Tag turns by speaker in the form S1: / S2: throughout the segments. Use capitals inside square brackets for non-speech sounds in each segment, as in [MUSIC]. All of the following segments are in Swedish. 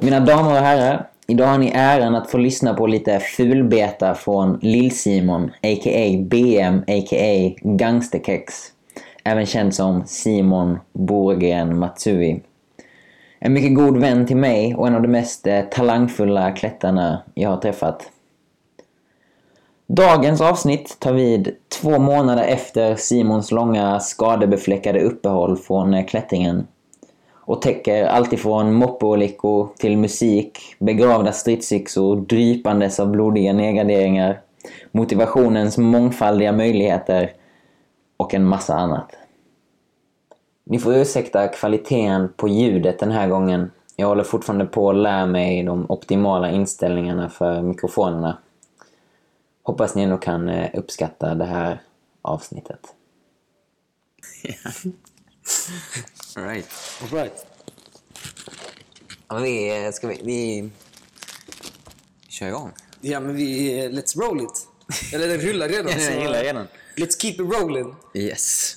S1: Mina damer och herrar, idag har ni äran att få lyssna på lite fulbeta från Lill-Simon, a.k.a. BM, a.k.a. Gangsterkex. Även känd som Simon Borgren Matsui. En mycket god vän till mig och en av de mest eh, talangfulla klättarna jag har träffat. Dagens avsnitt tar vid två månader efter Simons långa skadebefläckade uppehåll från eh, klättringen och täcker alltifrån moppeolyckor till musik, begravda stridsyxor, drypandes av blodiga nedgraderingar, motivationens mångfaldiga möjligheter och en massa annat. Ni får ursäkta kvaliteten på ljudet den här gången. Jag håller fortfarande på att lära mig de optimala inställningarna för mikrofonerna. Hoppas ni ändå kan eh, uppskatta det här avsnittet. Right.
S2: Right.
S1: Ja, vi, eh, ska vi, vi kör igång.
S2: Ja, men vi... eh, Let's roll it. Eller den
S1: [LAUGHS]
S2: rullar redan.
S1: Ja, den
S2: så-
S1: rullar redan.
S2: Let's keep it rolling.
S1: Alltså- Yes.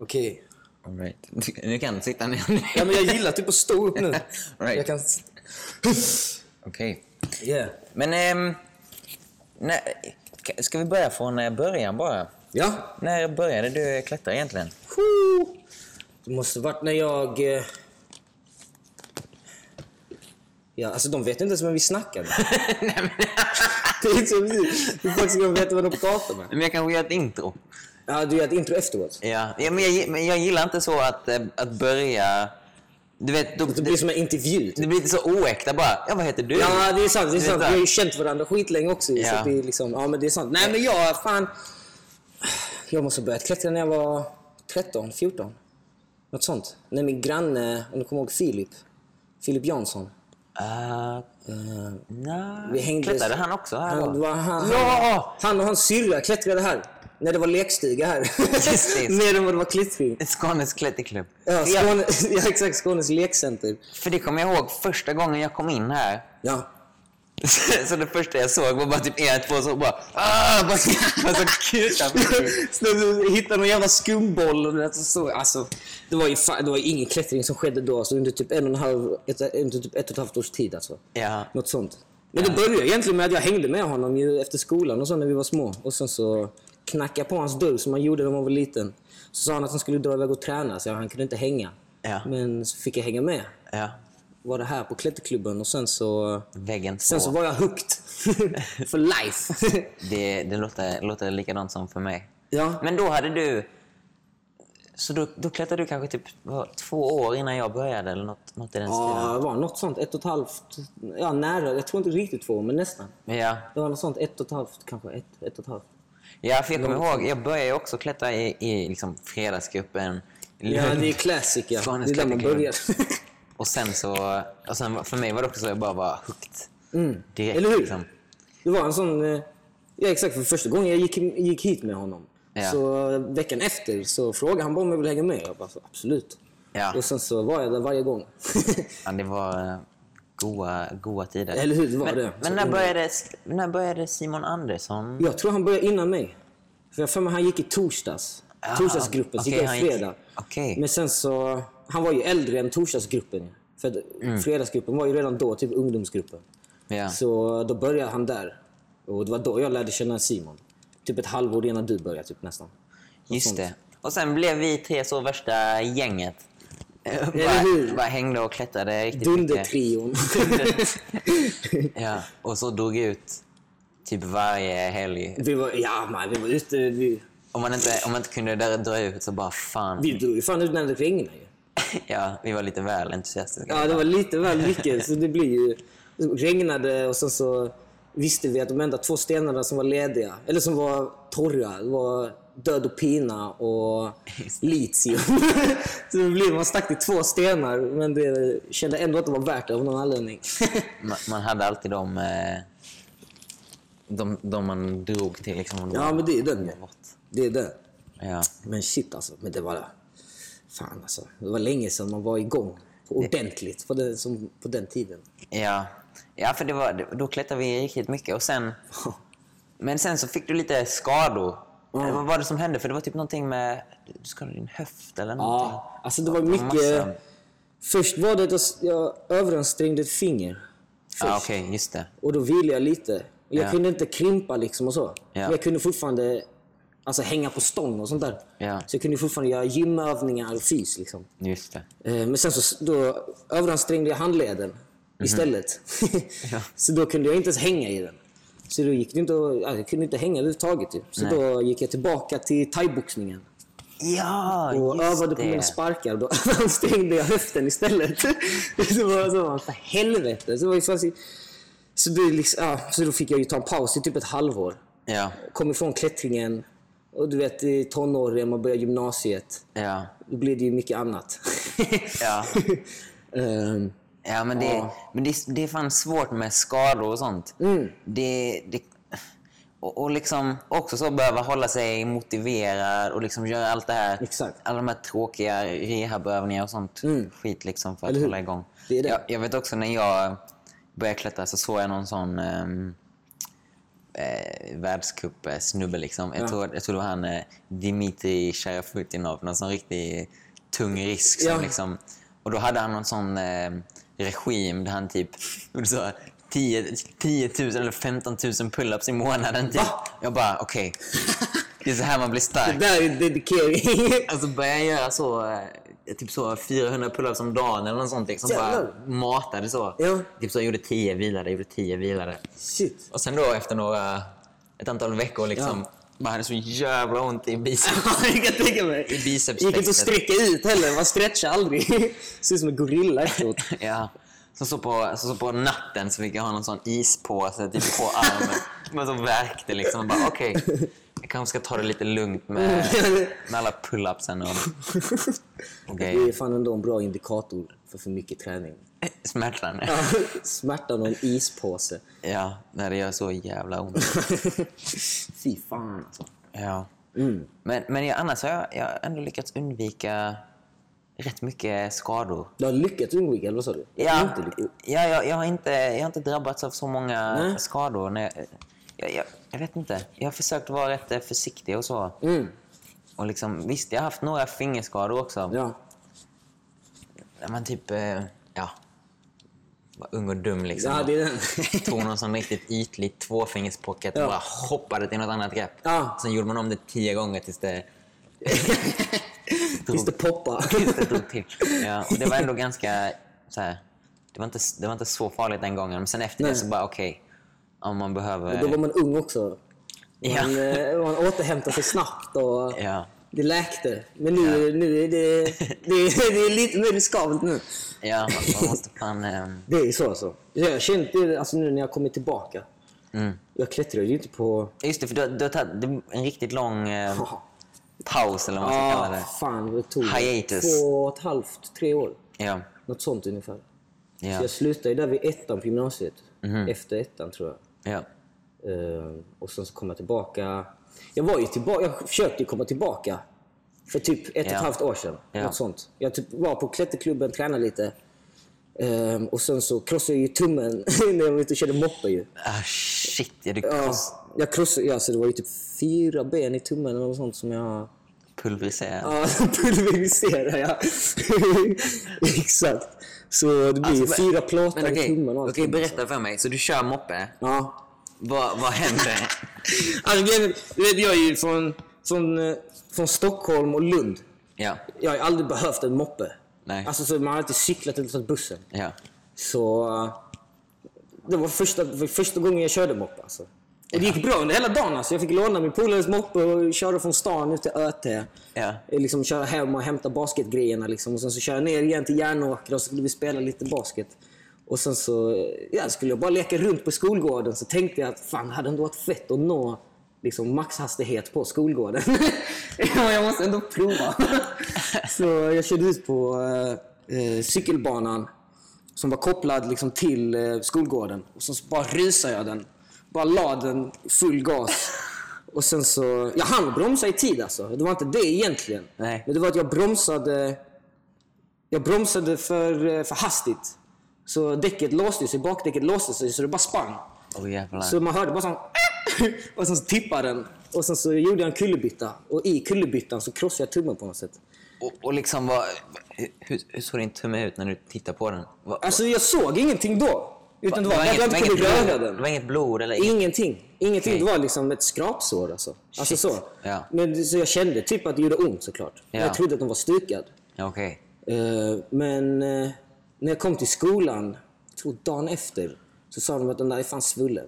S2: Okej.
S1: All right. [LAUGHS] Nu kan du sitta ner nu.
S2: Ja, men jag gillar typ att stå upp nu.
S1: Right.
S2: Jag kan...
S1: Okej.
S2: Yeah.
S1: Men... ehm, när, ka- ska vi börja från eh, början bara?
S2: Ja.
S1: När började du eh, klättra egentligen?
S2: Whoo! Det måste varit när jag... eh, Ja, alltså de vet inte ens vem vi snackade. [LAUGHS] det är inte så mysigt. Hur folk ska veta vad de pratar med?
S1: Men jag kanske gör ett intro.
S2: Ja, du gör ett intro efteråt.
S1: Ja, ja men, jag, men jag gillar inte så att, eh, att börja... Alltså, Du vet, då,
S2: Det blir som en intervju. Typ.
S1: det blir lite så oäkta bara. Ja, vad heter du?
S2: Ja, det är sant. Det är
S1: vet
S2: sant.
S1: det.
S2: Vi har ju känt varandra skitlänge också. Så
S1: Ja.
S2: att det är liksom, ja, men det är sant. Nej, men jag, fan. Jag måste ha börjat klättra när jag var 13, 14. Något sånt. När min granne, om du kommer ihåg Filip. Filip Jansson.
S1: Ah,
S2: Eh,
S1: nej.
S2: vi hängde...
S1: Klättrade han också här
S2: han,
S1: då?
S2: det var han,
S1: Ja!
S2: han och hans syrra klättrade här. När det var lekstuga här.
S1: Just det.
S2: [LAUGHS] Mer än vad det var klättring.
S1: Skånes klätterklubb.
S2: Ja,
S1: För jag-
S2: Skåne, [LAUGHS] ja, exakt. Skånes lekcenter.
S1: För det kommer jag ihåg första gången jag kom in här. [LAUGHS]
S2: Ja.
S1: Så det första jag såg var bara typ er två som bara ah, bara, bara så kutar
S2: Snubben hittade någon jävla skumboll och det, så, alltså, det, var ju fa- det var ju ingen klättring som skedde då alltså, under typ en och en halv, ett, under typ ett och ett halvt års tid. Alltså.
S1: Ja.
S2: Något sånt. Men det började egentligen med att jag hängde med honom ju efter skolan och så när vi var små. Och sen så knackade jag på hans dörr som man gjorde när man var liten. Så sa han att han skulle dra iväg och träna så han kunde inte hänga.
S1: Ja.
S2: Men så fick jag hänga med.
S1: ja.
S2: Var det här på klätterklubben och sen så...
S1: Väggen två.
S2: Sen så var jag hooked. [LAUGHS] For life. [LAUGHS]
S1: Det, det låter, låter likadant som för mig.
S2: ja.
S1: Men då hade du... Så då, då klättrade du kanske typ vad, två år innan jag började eller något, något i den stilen?
S2: Ja, det var något sånt. Ett och ett halvt. Ja, nära. Jag tror inte riktigt två, men nästan.
S1: Ja.
S2: Det var något sånt. Ett och ett halvt kanske. Ett, ett och ett halvt.
S1: ja, för jag kommer ihåg, jag började ju också klättra i, i liksom fredagsgruppen.
S2: Ja, det är classic ja.
S1: Skånes
S2: det är där man
S1: klassiker.
S2: börjar. [LAUGHS]
S1: Och sen så... Och sen, för mig var det också så jag bara var hooked. Direkt
S2: Mm. Eller hur?
S1: liksom.
S2: Det var en sån... eh, Ja, exakt. För första gången jag gick, gick hit med honom.
S1: Ja.
S2: Så eh, veckan efter så frågade han bara om jag ville hänga med. Jag bara, så, absolut.
S1: Ja.
S2: Och sen så var jag där varje gång. [LAUGHS]
S1: Ja, det var eh, goa, goa tider.
S2: Eller hur, det var
S1: men,
S2: det.
S1: Men när började, när började Simon Andersson?
S2: jag tror han började innan mig. För jag har för mig han gick i torsdags.
S1: Ah,
S2: Torsdagsgruppen, så
S1: okej,
S2: gick jag
S1: han
S2: i
S1: gick-
S2: fredag.
S1: Okej.
S2: Men sen så, han var ju äldre än torsdagsgruppen. ju. För att fredagsgruppen var ju redan då typ ungdomsgruppen.
S1: Ja.
S2: Så då började han där. Och det var då jag lärde känna Simon. Typ ett halvår innan du började typ nästan.
S1: Just det. Och sen blev vi tre så värsta gänget. [LAUGHS] Eh,
S2: hur?
S1: Bara, bara hängde och klättrade riktigt mycket.
S2: Dundertrion. [LAUGHS] typ.
S1: Ja. Och så drog ut typ varje helg.
S2: vi var, ja man, vi var ute. Vi,
S1: Om man inte, om man inte kunde dra- dra ut så bara fan.
S2: vi drog ju fan ut när det regnade ju.
S1: [LAUGHS] Ja, vi var lite väl entusiastiska.
S2: Ja, det var lite väl mycket. Så det blir ju... Det regnade och sen så visste vi att de enda två stenarna som var lediga, eller som var torra, det var död och pina och litium. [LAUGHS] så det blev, man stack till två stenar, men det kände ändå att det var värt det av någon [LAUGHS] anledning.
S1: Man, man hade alltid de, eh, de, de man drog till. Liksom, om det
S2: ja,
S1: var-
S2: men det är den ju. Det är den.
S1: ja.
S2: Men shit alltså, men det var... Fan alltså, det var länge sedan man var igång ordentligt på den, som, på den tiden.
S1: Ja, ja för det var, då klättrade vi riktigt mycket. Och sen, men sen så fick du lite skador. Eller Vad var det som hände? För det var typ någonting med... Du skadade din höft eller någonting.
S2: Ja, alltså det var mycket...
S1: massa.
S2: Först var det att jag överansträngde ett finger.
S1: Ja, okej, just det.
S2: Och då vilade jag lite. Jag
S1: Ja.
S2: kunde inte krympa liksom och så.
S1: Ja.
S2: Men jag kunde fortfarande alltså, hänga på stång och sånt där.
S1: Ja.
S2: Så jag kunde fortfarande göra gymövningar och fys. Liksom.
S1: Just det.
S2: Eh, Men sen så då överansträngde jag handleden
S1: Mhm.
S2: istället. [LAUGHS] så då kunde jag inte ens hänga i den. Så då gick det inte att, ja, jag kunde inte hänga överhuvudtaget. Typ. Så då gick jag tillbaka till thaiboxningen
S1: Ja,
S2: och
S1: just
S2: övade på mina
S1: det.
S2: sparkar. Då [LAUGHS] överansträngde jag höften istället. [LAUGHS] så var jag så, för helvete. Så, var jag, så, så, det är liksom, ja, så då fick jag ju ta en paus i typ ett halvår.
S1: Ja,
S2: Kom ifrån klättringen. Och du vet, i tonåren, man börjar gymnasiet.
S1: ja.
S2: Då blir det ju mycket annat.
S1: [LAUGHS] Ja.
S2: [LAUGHS] Ehm,
S1: Ja, men, det, men det, det är fan svårt med skador och sånt.
S2: Mm.
S1: Det, det, och, och liksom också så behöva hålla sig motiverad och liksom göra allt det här.
S2: Exakt. Mm.
S1: Alla de här tråkiga rehabövningar och sånt skit liksom för att hålla igång.
S2: Det är det.
S1: Jag, jag vet också när jag började klättra så såg jag någon sån ehm, eh, världscup-snubbe. Liksom. Jag, tror, jag tror det var han eh, Dimitri Sharafutinov, någon sån riktig tung risk. Som
S2: Ja.
S1: liksom, och då hade han någon sån eh, regim där han typ gjorde så här 10, 10 000 eller 15 000 pull-ups i månaden. Typ. Jag bara, okej. Det är så här man blir stark.
S2: Det där är dedikering. [LAUGHS]
S1: Alltså började jag göra så, eh, typ så 400 pull-ups om dagen eller något sånt. Liksom. Bara
S2: Jävlar.
S1: matade så.
S2: Ja.
S1: Typ så, jag gjorde 10, vilade, gjorde 10, vilade.
S2: Shit. [LAUGHS]
S1: Och sen då efter några, ett antal veckor liksom, man hade så jävla ont i [LAUGHS] biceps.
S2: jag kan tänka mig.
S1: I biceps
S2: Gick inte att
S1: flexet.
S2: sträcka ut heller. Man stretchar aldrig. [LAUGHS] Ser ut som en
S1: [LAUGHS]
S2: gorilla efteråt. [LAUGHS]
S1: ja. Så, så, på, så, så på natten så fick jag ha någon sån ispåse typ på armen. Men så värkte liksom. Och bara okej, jag kanske ska ta det lite lugnt med, med alla pull-upsen
S2: [LAUGHS]
S1: och, och
S2: Det
S1: grejer.
S2: är fan ändå en bra indikator för för mycket träning. [LAUGHS]
S1: Smärtan.
S2: Smärtan och en ispåse. [LAUGHS]
S1: Ja, när det gör så jävla ont.
S2: Fy fan alltså.
S1: Ja. Men, men jag, annars har jag, jag har ändå lyckats undvika rätt mycket skador.
S2: Du har lyckats undvika, eller vad sa du?
S1: Ja,
S2: Inte lyckats.
S1: ja jag, jag, har inte, jag har inte drabbats av så många skador. När jag, jag, jag, jag vet inte. Jag har försökt vara rätt eh, försiktig och så.
S2: Mm.
S1: Och liksom, visst, jag har haft några fingerskador också.
S2: Ja.
S1: När man typ... eh, Ja, var ung och dum liksom.
S2: ja, det [LAUGHS] är den.
S1: Tog någon sån riktigt ytlig tvåfingerspocket och bara hoppade till något annat grepp.
S2: Ja.
S1: Sen gjorde man om det tio gånger tills
S2: [LAUGHS]
S1: det...
S2: Tills
S1: [LAUGHS]
S2: det poppar.
S1: Tills det drog till. Ja, och det var ändå ganska... Så här, det, var inte, det var inte så farligt den gången, men sen efter det så bara okej. om man behöver...
S2: Då var man ung också. Man,
S1: Ja.
S2: eh, man återhämtade sig snabbt och
S1: Ja.
S2: det läkte. Men nu, nu är det, det, är, det är lite mer riskabelt nu.
S1: Ja, man, man måste fan... ehm,
S2: Det är så alltså. Jag har känt det alltså, nu när jag kommit tillbaka.
S1: Mm.
S2: Jag klättrade ju inte på...
S1: Just det, för du, har- du har tagit det är en riktigt lång eh, paus eller vad man ska kalla
S2: Ah,
S1: det.
S2: fan, det tog
S1: Hiatus.
S2: två och ett halvt, tre år.
S1: Ja,
S2: Något sånt ungefär. Så
S1: ja, Mhm.
S2: jag slutade ju där vid ettan på gymnasiet. Efter ettan tror jag.
S1: ja.
S2: Ehm, och sen så kom jag tillbaka. Jag var ju tillbaka, jag försökte ju komma tillbaka. För typ ett och
S1: Ja.
S2: ett halvt år sedan.
S1: Ja.
S2: Något sånt. Jag typ var på klätterklubben, tränade lite. Ehm, och sen så krossade jag ju tummen [LAUGHS] när jag var ute och körde moppe ju.
S1: Ah, shit, ja, du
S2: Ja, jag krossade, ja, så det var ju typ fyra ben i tummen eller något sånt som jag
S1: pulveriserar.
S2: ja, [LAUGHS] pulveriserade. Ja. [LAUGHS] Exakt. Så det blir ju
S1: Alltså, men-
S2: fyra plåtar
S1: Men
S2: i
S1: okej,
S2: tummen och alltså. allt
S1: okej,
S2: sånt.
S1: berätta för mig. Så du kör moppe.
S2: Ja.
S1: Vad, vad händer?
S2: Alltså, grejen är- du vet, jag är ju från, från, eh, från Stockholm och Lund.
S1: ja,
S2: Jag har ju aldrig behövt en moppe.
S1: Nej.
S2: Alltså, så man har alltid cyklat eller tagit bussen.
S1: ja.
S2: Så eh, det var första, för första gången jag körde moppe. Alltså. Och det gick bra under hela dagen. Alltså. Jag fick låna min polares moppe och köra från stan ut till Öte.
S1: Ja.
S2: Liksom köra hem och hämta basketgrejerna. Liksom. Och sen så köra ner igen till Järnåker och så skulle vi spela lite basket. Och sen så eh, ja, skulle jag bara leka runt på skolgården så tänkte jag att fan, det hade ändå varit fett att nå liksom, maxhastighet på skolgården. [LAUGHS] Ja, jag måste ändå prova. [LAUGHS] så jag körde ut på eh, eh, cykelbanan som var kopplad liksom till eh, skolgården. Och sen så bara rusade jag den. Bara la den full gas. Och sen så... Jag hann bromsa i tid alltså. Det var inte det egentligen.
S1: Nej.
S2: Men det var att jag bromsade... Jag bromsade för, eh, för hastigt. Så däcket låste sig, bakdäcket låste sig så det bara sprang.
S1: Åh jävlar.
S2: Så man hörde bara sån... [LAUGHS] Och sen så tippade den. Och sen så gjorde jag en kullerbytta. Och i kullerbyttan så krossade jag tummen på något sätt.
S1: Och, och liksom vad... hur, hur, hur såg din tumme ut när du tittade på den? Va,
S2: Alltså jag såg ingenting då. Utan det var, jag hade inte
S1: inget
S2: kunnat röra
S1: blod, det
S2: den.
S1: var inget blod eller inget?
S2: Ingenting. Ingenting.
S1: Okej.
S2: Det var liksom ett skrapsår alltså. Alltså
S1: Shit.
S2: så.
S1: Ja.
S2: Men så jag kände typ att det gjorde ont såklart.
S1: Ja.
S2: Jag trodde att den var stukad.
S1: Ja, Okej.
S2: Eh, Men eh, när jag kom till skolan, jag tror dagen efter, så sa de att den där är
S1: [LAUGHS]
S2: fan svullen.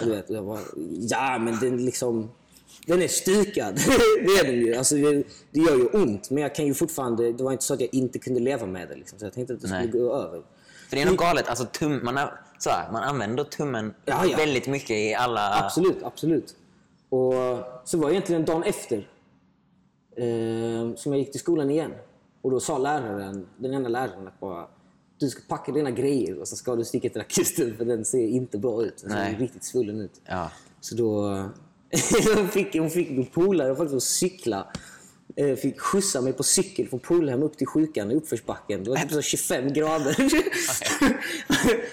S2: Och du vet, jag bara, ja men den liksom, den är stukad. [LAUGHS] det är den ju. Alltså, det, det gör ju ont, men jag kan ju fortfarande, det var inte så att jag inte kunde leva med det. Liksom. Så jag tänkte att det skulle
S1: Nej.
S2: gå över.
S1: För det är något galet, alltså tum, man, har, så här, man använder tummen
S2: Ja, ja.
S1: väldigt mycket i alla...
S2: Absolut, absolut. Och så var det egentligen dagen efter eh, som jag gick till skolan igen. Och då sa läraren, den enda läraren att bara du ska packa dina grejer och så ska du sticka till akuten för den ser inte bra ut. Alltså, Den ser
S1: Nej.
S2: riktigt svullen ut.
S1: Ja.
S2: Så då [LAUGHS] hon fick hon fick min polare faktiskt att cykla. Eh, Fick skjutsa mig på cykel från Polhem upp till sjukan i uppförsbacken. Det var typ så 25 grader. [LAUGHS]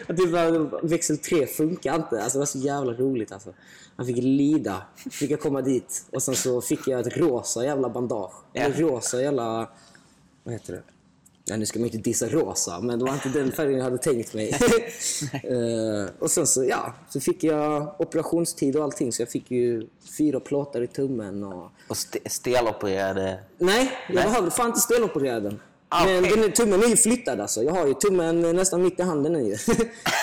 S2: Och typ bara, växel 3 funkar inte. Alltså, det var så jävla roligt. Alltså. Han fick lida. Fick jag komma dit. Och sen så fick jag ett rosa jävla bandage. Eller rosa jävla... Vad heter det? Ja, nu ska man ju inte dissa rosa, men det var inte den färgen jag hade
S1: [LAUGHS]
S2: tänkt mig. [LAUGHS] Eh, och sen så, ja, så fick jag operationstid och allting, så jag fick ju fyra plåtar i tummen. Och...
S1: Och ste, stelopererade...
S2: Nej, jag behövde fan inte steloperera den.
S1: Ah,
S2: Men
S1: okej.
S2: den, är- tummen är ju flyttad alltså. Jag har ju tummen nästan mitt i handen nu [LAUGHS] ju.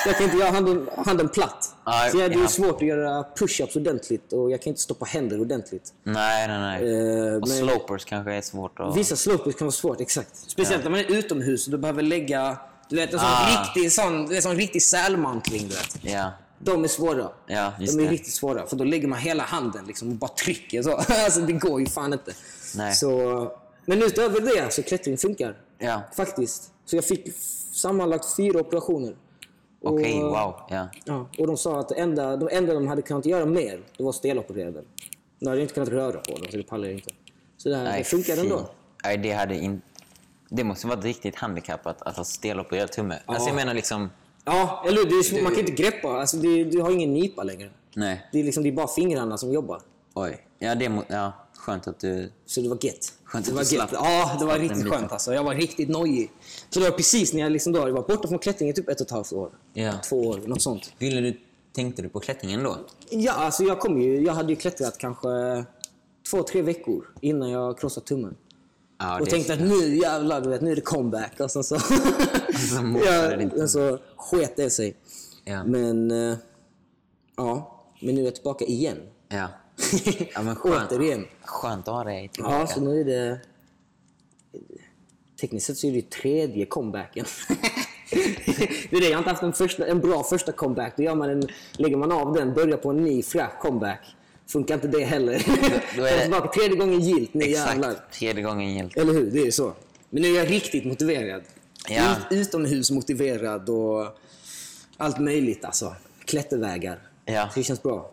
S2: jag kan inte göra handen, handen platt.
S1: Ah,
S2: så jag, det är
S1: ja.
S2: ju svårt att göra push-ups ordentligt och jag kan inte stoppa händer ordentligt.
S1: Nej, nej, nej.
S2: Eh,
S1: och slopers kanske är svårt att...
S2: Vissa slopers kan vara svårt, exakt. Speciellt när man är utomhus och du behöver lägga du vet, en sån
S1: Ah.
S2: riktig, sån, du vet, sån riktig sälmantling. Du vet.
S1: Ja.
S2: De är svåra.
S1: Ja, just
S2: De är
S1: det.
S2: riktigt svåra, för då lägger man hela handen liksom och bara trycker så. [LAUGHS] alltså, det går ju fan inte.
S1: Nej.
S2: Så, men utöver det så klättring funkar.
S1: Ja.
S2: Faktiskt. Så jag fick f- sammanlagt fyra operationer.
S1: Okej,
S2: Och-
S1: wow. Ja.
S2: Ja, och de sa att det enda, de enda de hade kunnat göra mer, det var att steloperera den. De hade inte kunnat röra på den, så det pallar ju inte. Så det, här, det funkar
S1: fy.
S2: ändå.
S1: Nej, det hade inte... Det måste vara ett riktigt handikapp att, att ha stelopererad tumme. Alltså jag menar liksom...
S2: Ja, eller hur? Det är sm- Man kan inte greppa. Alltså, det, du har ingen nypa längre.
S1: Nej.
S2: Det är, liksom, det är bara fingrarna som jobbar.
S1: Oj. Ja, det må, ja, skönt att du...
S2: Så det var gett.
S1: Skönt
S2: det
S1: att
S2: var
S1: du slapp-
S2: Ja, det var
S1: slapp den
S2: riktigt
S1: biten.
S2: skönt alltså. Jag var riktigt nojig. Så det var precis när jag liksom då, jag var borta från klättringen i typ ett och ett halvt år.
S1: Ja.
S2: Två år, något sånt.
S1: Ville du... Tänkte du på klättringen då?
S2: Ja, alltså jag kom ju, jag hade ju klättrat kanske två, tre veckor innan jag krossade tummen.
S1: Ja,
S2: och
S1: det-
S2: tänkte att nu jävlar, du vet, nu är det comeback. Och
S1: [LAUGHS]
S2: sen så...
S1: så mosade det inte.
S2: ja, och så sket det sig.
S1: Ja.
S2: Men... eh, Ja. Men nu är jag tillbaka igen. [LAUGHS]
S1: Ja. ja men skönt.
S2: Återigen.
S1: Skönt att ha dig tillbaka.
S2: Ja, så nu är det... Tekniskt sett så är det ju tredje comebacken. [LAUGHS] det är det, jag har inte haft en, första, en bra första comeback. Då gör man en, lägger man av den, börjar på en ny fräsch comeback. Funkar inte det heller.
S1: [LAUGHS] då
S2: Då
S1: är
S2: är
S1: det-
S2: tillbaka tredje gången gilt, nu jävlar.
S1: Exakt. Tredje gången gillt.
S2: Eller hur? Det är ju så. Men nu är jag riktigt motiverad.
S1: Ja.
S2: Ut, utomhus motiverad och allt möjligt alltså. Klättervägar.
S1: Ja.
S2: Så det känns bra.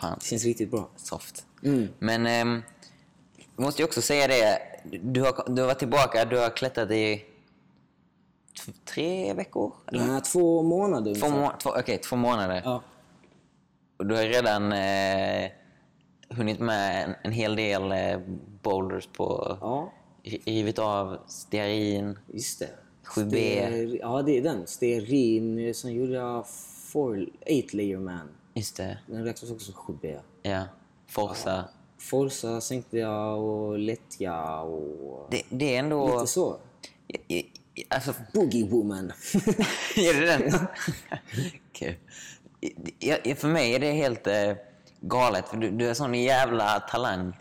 S1: Fan.
S2: Det känns riktigt bra.
S1: soft.
S2: Mm.
S1: Men ehm, jag måste ju också säga det, du har, du har varit tillbaka, du har klättrat i t- tre veckor?
S2: Den här två månader
S1: Två,
S2: ungefär.
S1: må- två, okej, två månader.
S2: Ja.
S1: Och du har redan eh, hunnit med en, en hel del eh, boulders på,
S2: ja,
S1: ri- rivit av stearin.
S2: just det.
S1: 7B.
S2: Stear- Ja, det är den. Stearin. Sen gjorde jag 8-layer man.
S1: Just det,
S2: Den räknas också som 7B.
S1: ja. Forsa.
S2: Forza sänkte jag och Lättja och...
S1: Det, det är ändå...
S2: Lite så.
S1: I- i- i- Alltså,
S2: Boogie woman. [LAUGHS]
S1: [LAUGHS] Är det den? [LAUGHS] Kul. Ja, ja, för mig är det helt eh, galet, för du, du är sån jävla talang.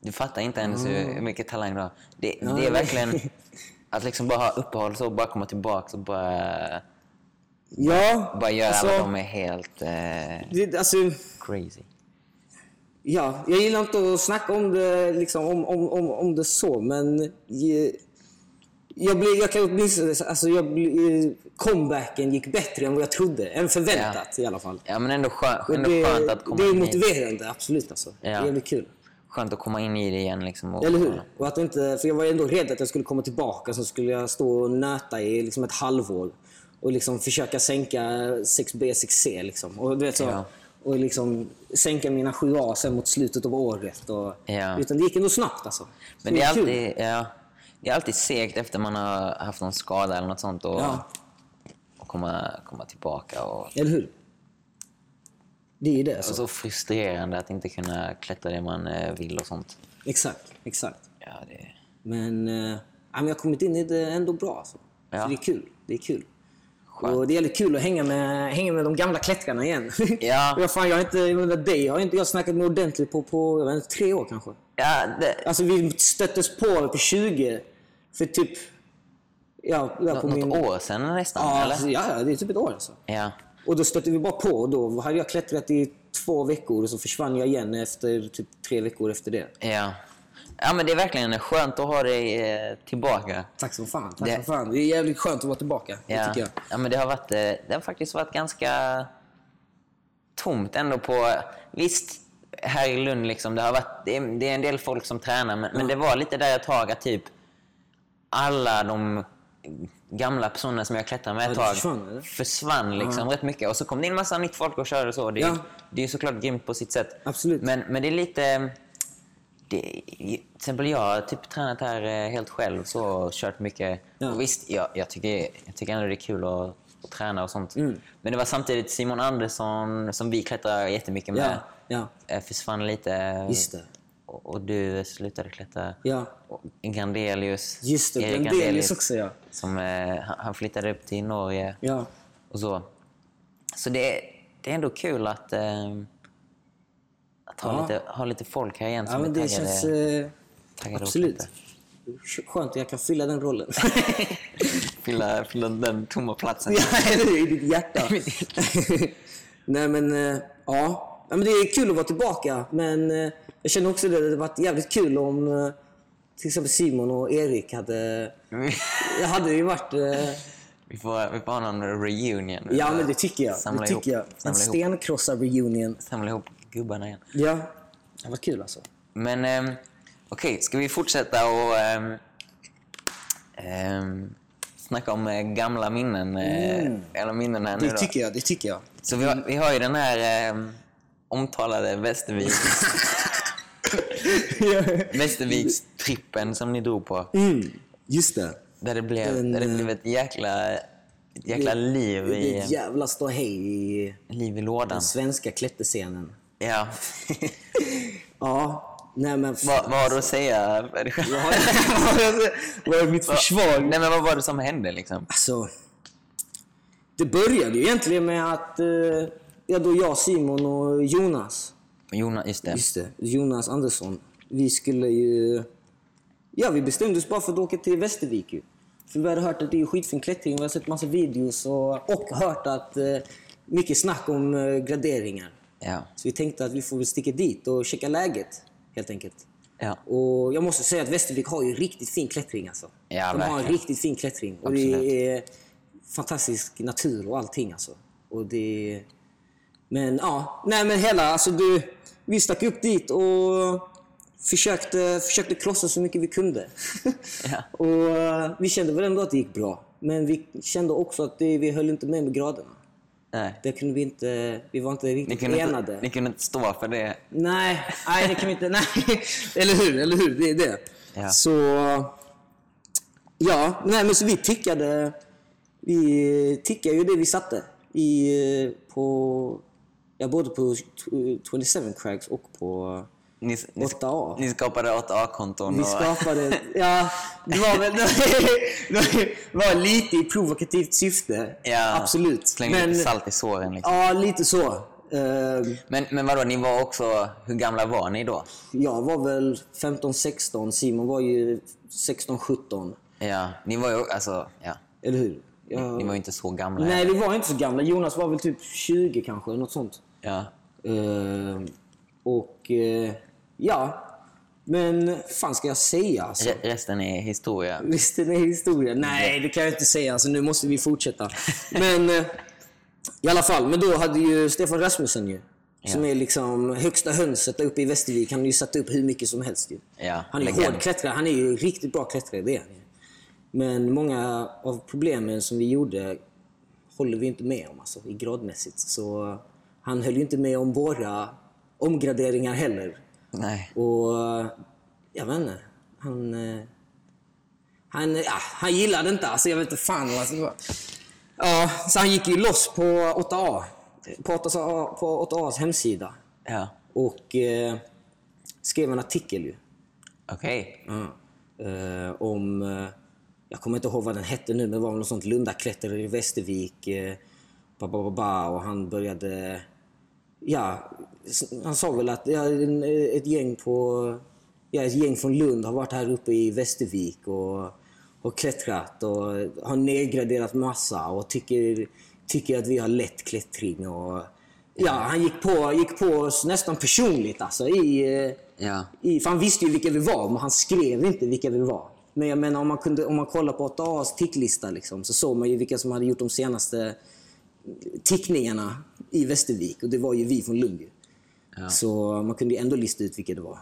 S1: Du fattar inte ens
S2: Mm.
S1: hur, hur mycket talang du har. Det, det är
S2: [LAUGHS]
S1: verkligen att liksom bara ha uppehåll så och bara komma tillbaka och bara,
S2: ja,
S1: bara göra
S2: alltså,
S1: vad de är helt eh,
S2: det, alltså,
S1: crazy.
S2: ja, jag gillar inte att snacka om det, liksom, om, om, om, om det så, men jag, jag, blir, jag kan åtminstone... Alltså, jag blir, comebacken gick bättre än vad jag trodde. Än förväntat i alla fall.
S1: Ja men ändå, skö, ändå
S2: Det,
S1: skönt att komma
S2: det är
S1: in i,
S2: motiverande, absolut. Alltså. Det
S1: Ja.
S2: är jävligt kul.
S1: skönt att komma in i det igen liksom. Och,
S2: Eller hur? Och att inte, för jag var ändå rädd att jag skulle komma tillbaka, så skulle jag stå och nöta i liksom ett halvår och liksom försöka sänka 6B, 6C. Liksom. Och, du vet, så,
S1: Ja.
S2: och liksom sänka mina 7A sen mot slutet av året. Och,
S1: Ja.
S2: Utan det gick ändå snabbt. Alltså. Så
S1: Men det är
S2: kul.
S1: alltid, ja. Det är alltid segt efter man har haft någon skada eller något sånt och,
S2: Ja.
S1: och komma, komma tillbaka. Och,
S2: Eller hur? Det är ju det.
S1: och
S2: Alltså.
S1: så frustrerande att inte kunna klättra det man eh, vill och sånt.
S2: Exakt, exakt.
S1: Ja, det...
S2: Men, eh, ja, men jag har kommit in i det ändå bra. Alltså.
S1: Ja.
S2: Så det är kul. Det är kul.
S1: Skönt.
S2: Och det är jävligt kul att hänga med, hänga med de gamla klättrarna igen. [LAUGHS]
S1: Ja.
S2: Vad fan, jag har inte, jag menar, dig har jag inte jag snackat med ordentligt på, på jag vet inte, tre år kanske.
S1: Ja, det...
S2: Alltså vi stöttes på på 20 för typ... Ja, där på
S1: Något
S2: min...
S1: år sedan nästan,
S2: Ja,
S1: eller?
S2: alltså, ja, ja, det är typ ett år alltså.
S1: Ja.
S2: Och då stötte vi bara på och då hade jag klättrat i två veckor och så försvann jag igen efter typ tre veckor efter det.
S1: Ja. ja, men det är verkligen skönt att ha dig eh, tillbaka.
S2: Tack som fan, tack
S1: Det-
S2: som fan. Det är jävligt skönt att vara tillbaka, det
S1: Ja.
S2: tycker jag.
S1: ja, men det har, varit, eh, det har faktiskt varit ganska tomt ändå på... Visst, här i Lund liksom, det, har varit, det, är, det är en del folk som tränar, men,
S2: Mm.
S1: men det var lite där ett tag att typ alla de gamla personerna som jag klättrade med ett
S2: Ja, det
S1: tag
S2: försvann, eller?
S1: försvann liksom rätt mycket. Och så kom det in massa nytt folk och körde och så. Det, är-
S2: Ja.
S1: det är ju såklart grymt på sitt sätt.
S2: Absolut.
S1: Men, men det är lite... Det, till exempel jag har typ tränat här eh, helt själv så, och kört mycket.
S2: Ja.
S1: Och visst, jag, jag, tycker, jag tycker ändå det är kul att, att träna och sånt.
S2: Mm.
S1: Men det var samtidigt Simon Andersson, som vi klättrar jättemycket med,
S2: Ja, ja.
S1: eh, försvann lite.
S2: Just det.
S1: Och, och du slutade klättra.
S2: Ja.
S1: Och Grandelius.
S2: Just det,
S1: Erik
S2: Brandelius också ja.
S1: Som, eh, han- han flyttade upp till Norge
S2: Ja,
S1: och så. Så det är, det är ändå kul att, eh, att ha,
S2: Ja.
S1: lite, ha lite folk här igen
S2: ja
S1: som
S2: men
S1: är
S2: det
S1: taggade.
S2: känns... Eh,
S1: taggade att
S2: absolut.
S1: klättra.
S2: Skönt att jag kan fylla
S1: [LAUGHS]
S2: den rollen.
S1: Fylla, fylla den tomma platsen.
S2: Ja, eller hur? I ditt hjärta.
S1: I mitt
S2: [LAUGHS] Nej men, eh, ja. ja men det är kul att vara tillbaka. Men eh, jag känner också att det hade varit jävligt kul om eh, till exempel Simon och Erik hade... Det hade ju varit... eh,
S1: vi, får, vi får ha någon reunion.
S2: Ja men det tycker jag.
S1: Samla
S2: det
S1: ihop,
S2: tycker jag. En
S1: Samla, ihop,
S2: stenkrossar-reunion.
S1: samla ihop gubbarna igen.
S2: Ja. Det hade varit kul alltså.
S1: Men ehm, okej, ska vi fortsätta och ehm, ehm, snacka om eh, gamla minnen? eh,
S2: Mm.
S1: Eller minnen här nu
S2: Det
S1: då?
S2: tycker jag. Det tycker jag.
S1: Så vi har, vi har ju den här ehm, omtalade Västervik, Västervikstrippen som ni drog på.
S2: [LAUGHS] mm, just det.
S1: Där det blev, där det blev ett jäkla, ett jäkla liv,
S2: Det är
S1: i,
S2: ett jävla ståhej i
S1: liv i lådan.
S2: den svenska klätterscenen.
S1: Ja.
S2: Ja. Nej men...
S1: vad, vad har du att säga?
S2: Vad
S1: [LAUGHS]
S2: är mitt försvar?
S1: Nej, men vad var det som hände liksom?
S2: Alltså, det började ju egentligen med att eh, ja, då jag, Simon och Jonas,
S1: Jonas, just det.
S2: just det, Jonas Andersson, vi skulle ju... Ja, vi bestämde oss bara för att åka till Västervik ju. För vi hade hört att det är skitfin klättring, vi har sett massa videos och, och hört att eh, mycket snack om eh, graderingar.
S1: Ja.
S2: Så vi tänkte att vi får väl sticka dit och checka läget, helt enkelt.
S1: Ja.
S2: Och jag måste säga att Västervik har ju riktigt fin klättring alltså.
S1: Ja,
S2: De har en
S1: verkligen.
S2: riktigt fin klättring. Och
S1: Absolut.
S2: det är fantastisk natur och allting alltså. Och det är... Men ja, nej men hela alltså du, vi stack upp dit och försökte, försökte krossa så mycket vi kunde.
S1: [LAUGHS] Ja.
S2: [LAUGHS] och eh, vi kände väl ändå att det gick bra. Men vi kände också att det, vi höll inte med med graderna.
S1: Nej.
S2: Det kunde vi inte, vi var inte
S1: Ni
S2: riktigt
S1: kunde,
S2: enade.
S1: inte, ni kunde inte stå för det.
S2: Nej, nej det kan vi inte. Nej. Eller hur, eller hur? Det är det.
S1: Ja.
S2: Så... Ja, nej men så vi tickade... Vi tickade ju det vi satte i, eh, på... Ja, både på tw- 27 Crags och på
S1: Ni, ni,
S2: 8A.
S1: ni skapade 8A-konton.
S2: Vi
S1: och-
S2: skapade... Ja, det var väl... Det var lite i provokativt syfte.
S1: [LAUGHS] Ja.
S2: Absolut.
S1: Slängde lite salt i såren. Liksom.
S2: Ja, lite så. Eh,
S1: Men, men vadå, ni var också... Hur gamla var ni då?
S2: Jag var väl 15-16, Simon var ju 16-17.
S1: Ja, ni var ju... Alltså, ja.
S2: Eller hur? Ja.
S1: Ni var ju inte så gamla.
S2: Nej, vi var inte så gamla. Jonas var väl typ 20 kanske, något sånt.
S1: Ja.
S2: Ehm, och eh, ja, men fan ska jag säga? Alltså?
S1: Re- resten är historia.
S2: [LAUGHS] Visst är det historia?
S1: Mm.
S2: Nej, det kan jag inte säga. Alltså, nu måste vi fortsätta. Men eh, i alla fall, men då hade ju Stefan Rasmussen ju, som är liksom högsta hönset där uppe i Västervik, han har ju satt upp hur mycket som helst ju.
S1: Ja,
S2: han är ju
S1: legend.
S2: hård klättrare, han är ju riktigt bra klättrare, det är han ju. Men många av problemen som vi gjorde håller vi inte med om alltså, i gradmässigt. Så eh, han höll ju inte med om våra omgraderingar heller.
S1: Nej.
S2: Och eh, jag vet inte. Han... eh, Han, ja, han gillade inte, alltså jag vet inte fan. Alltså, det var... ja, så han gick ju loss på 8A. På 8A, på 8A's hemsida.
S1: Ja.
S2: Och eh, skrev en artikel ju.
S1: Okej.
S2: Ja. Eh, om, eh, jag kommer inte ihåg vad den hette nu, men det var väl något sånt Lundaklättrare i Västervik. Eh, ba, ba, ba, ba, och han började... Ja, s- han sa väl att ja, en- ett gäng på... Ja, ett gäng från Lund har varit här uppe i Västervik och har klättrat och har nedgraderat massa och tycker, tycker att vi har lätt klättring. Och, ja, han gick på, gick på oss nästan personligt alltså i... eh,
S1: Ja.
S2: i, för han visste ju vilka vi var, men han skrev inte vilka vi var. Men jag menar om man, kunde, om man kollar på 8As ticklista liksom, så såg man ju vilka som hade gjort de senaste eh, tickningarna i Västervik och det var ju vi från Lund. ju. Så man kunde ju ändå lista ut vilka det var.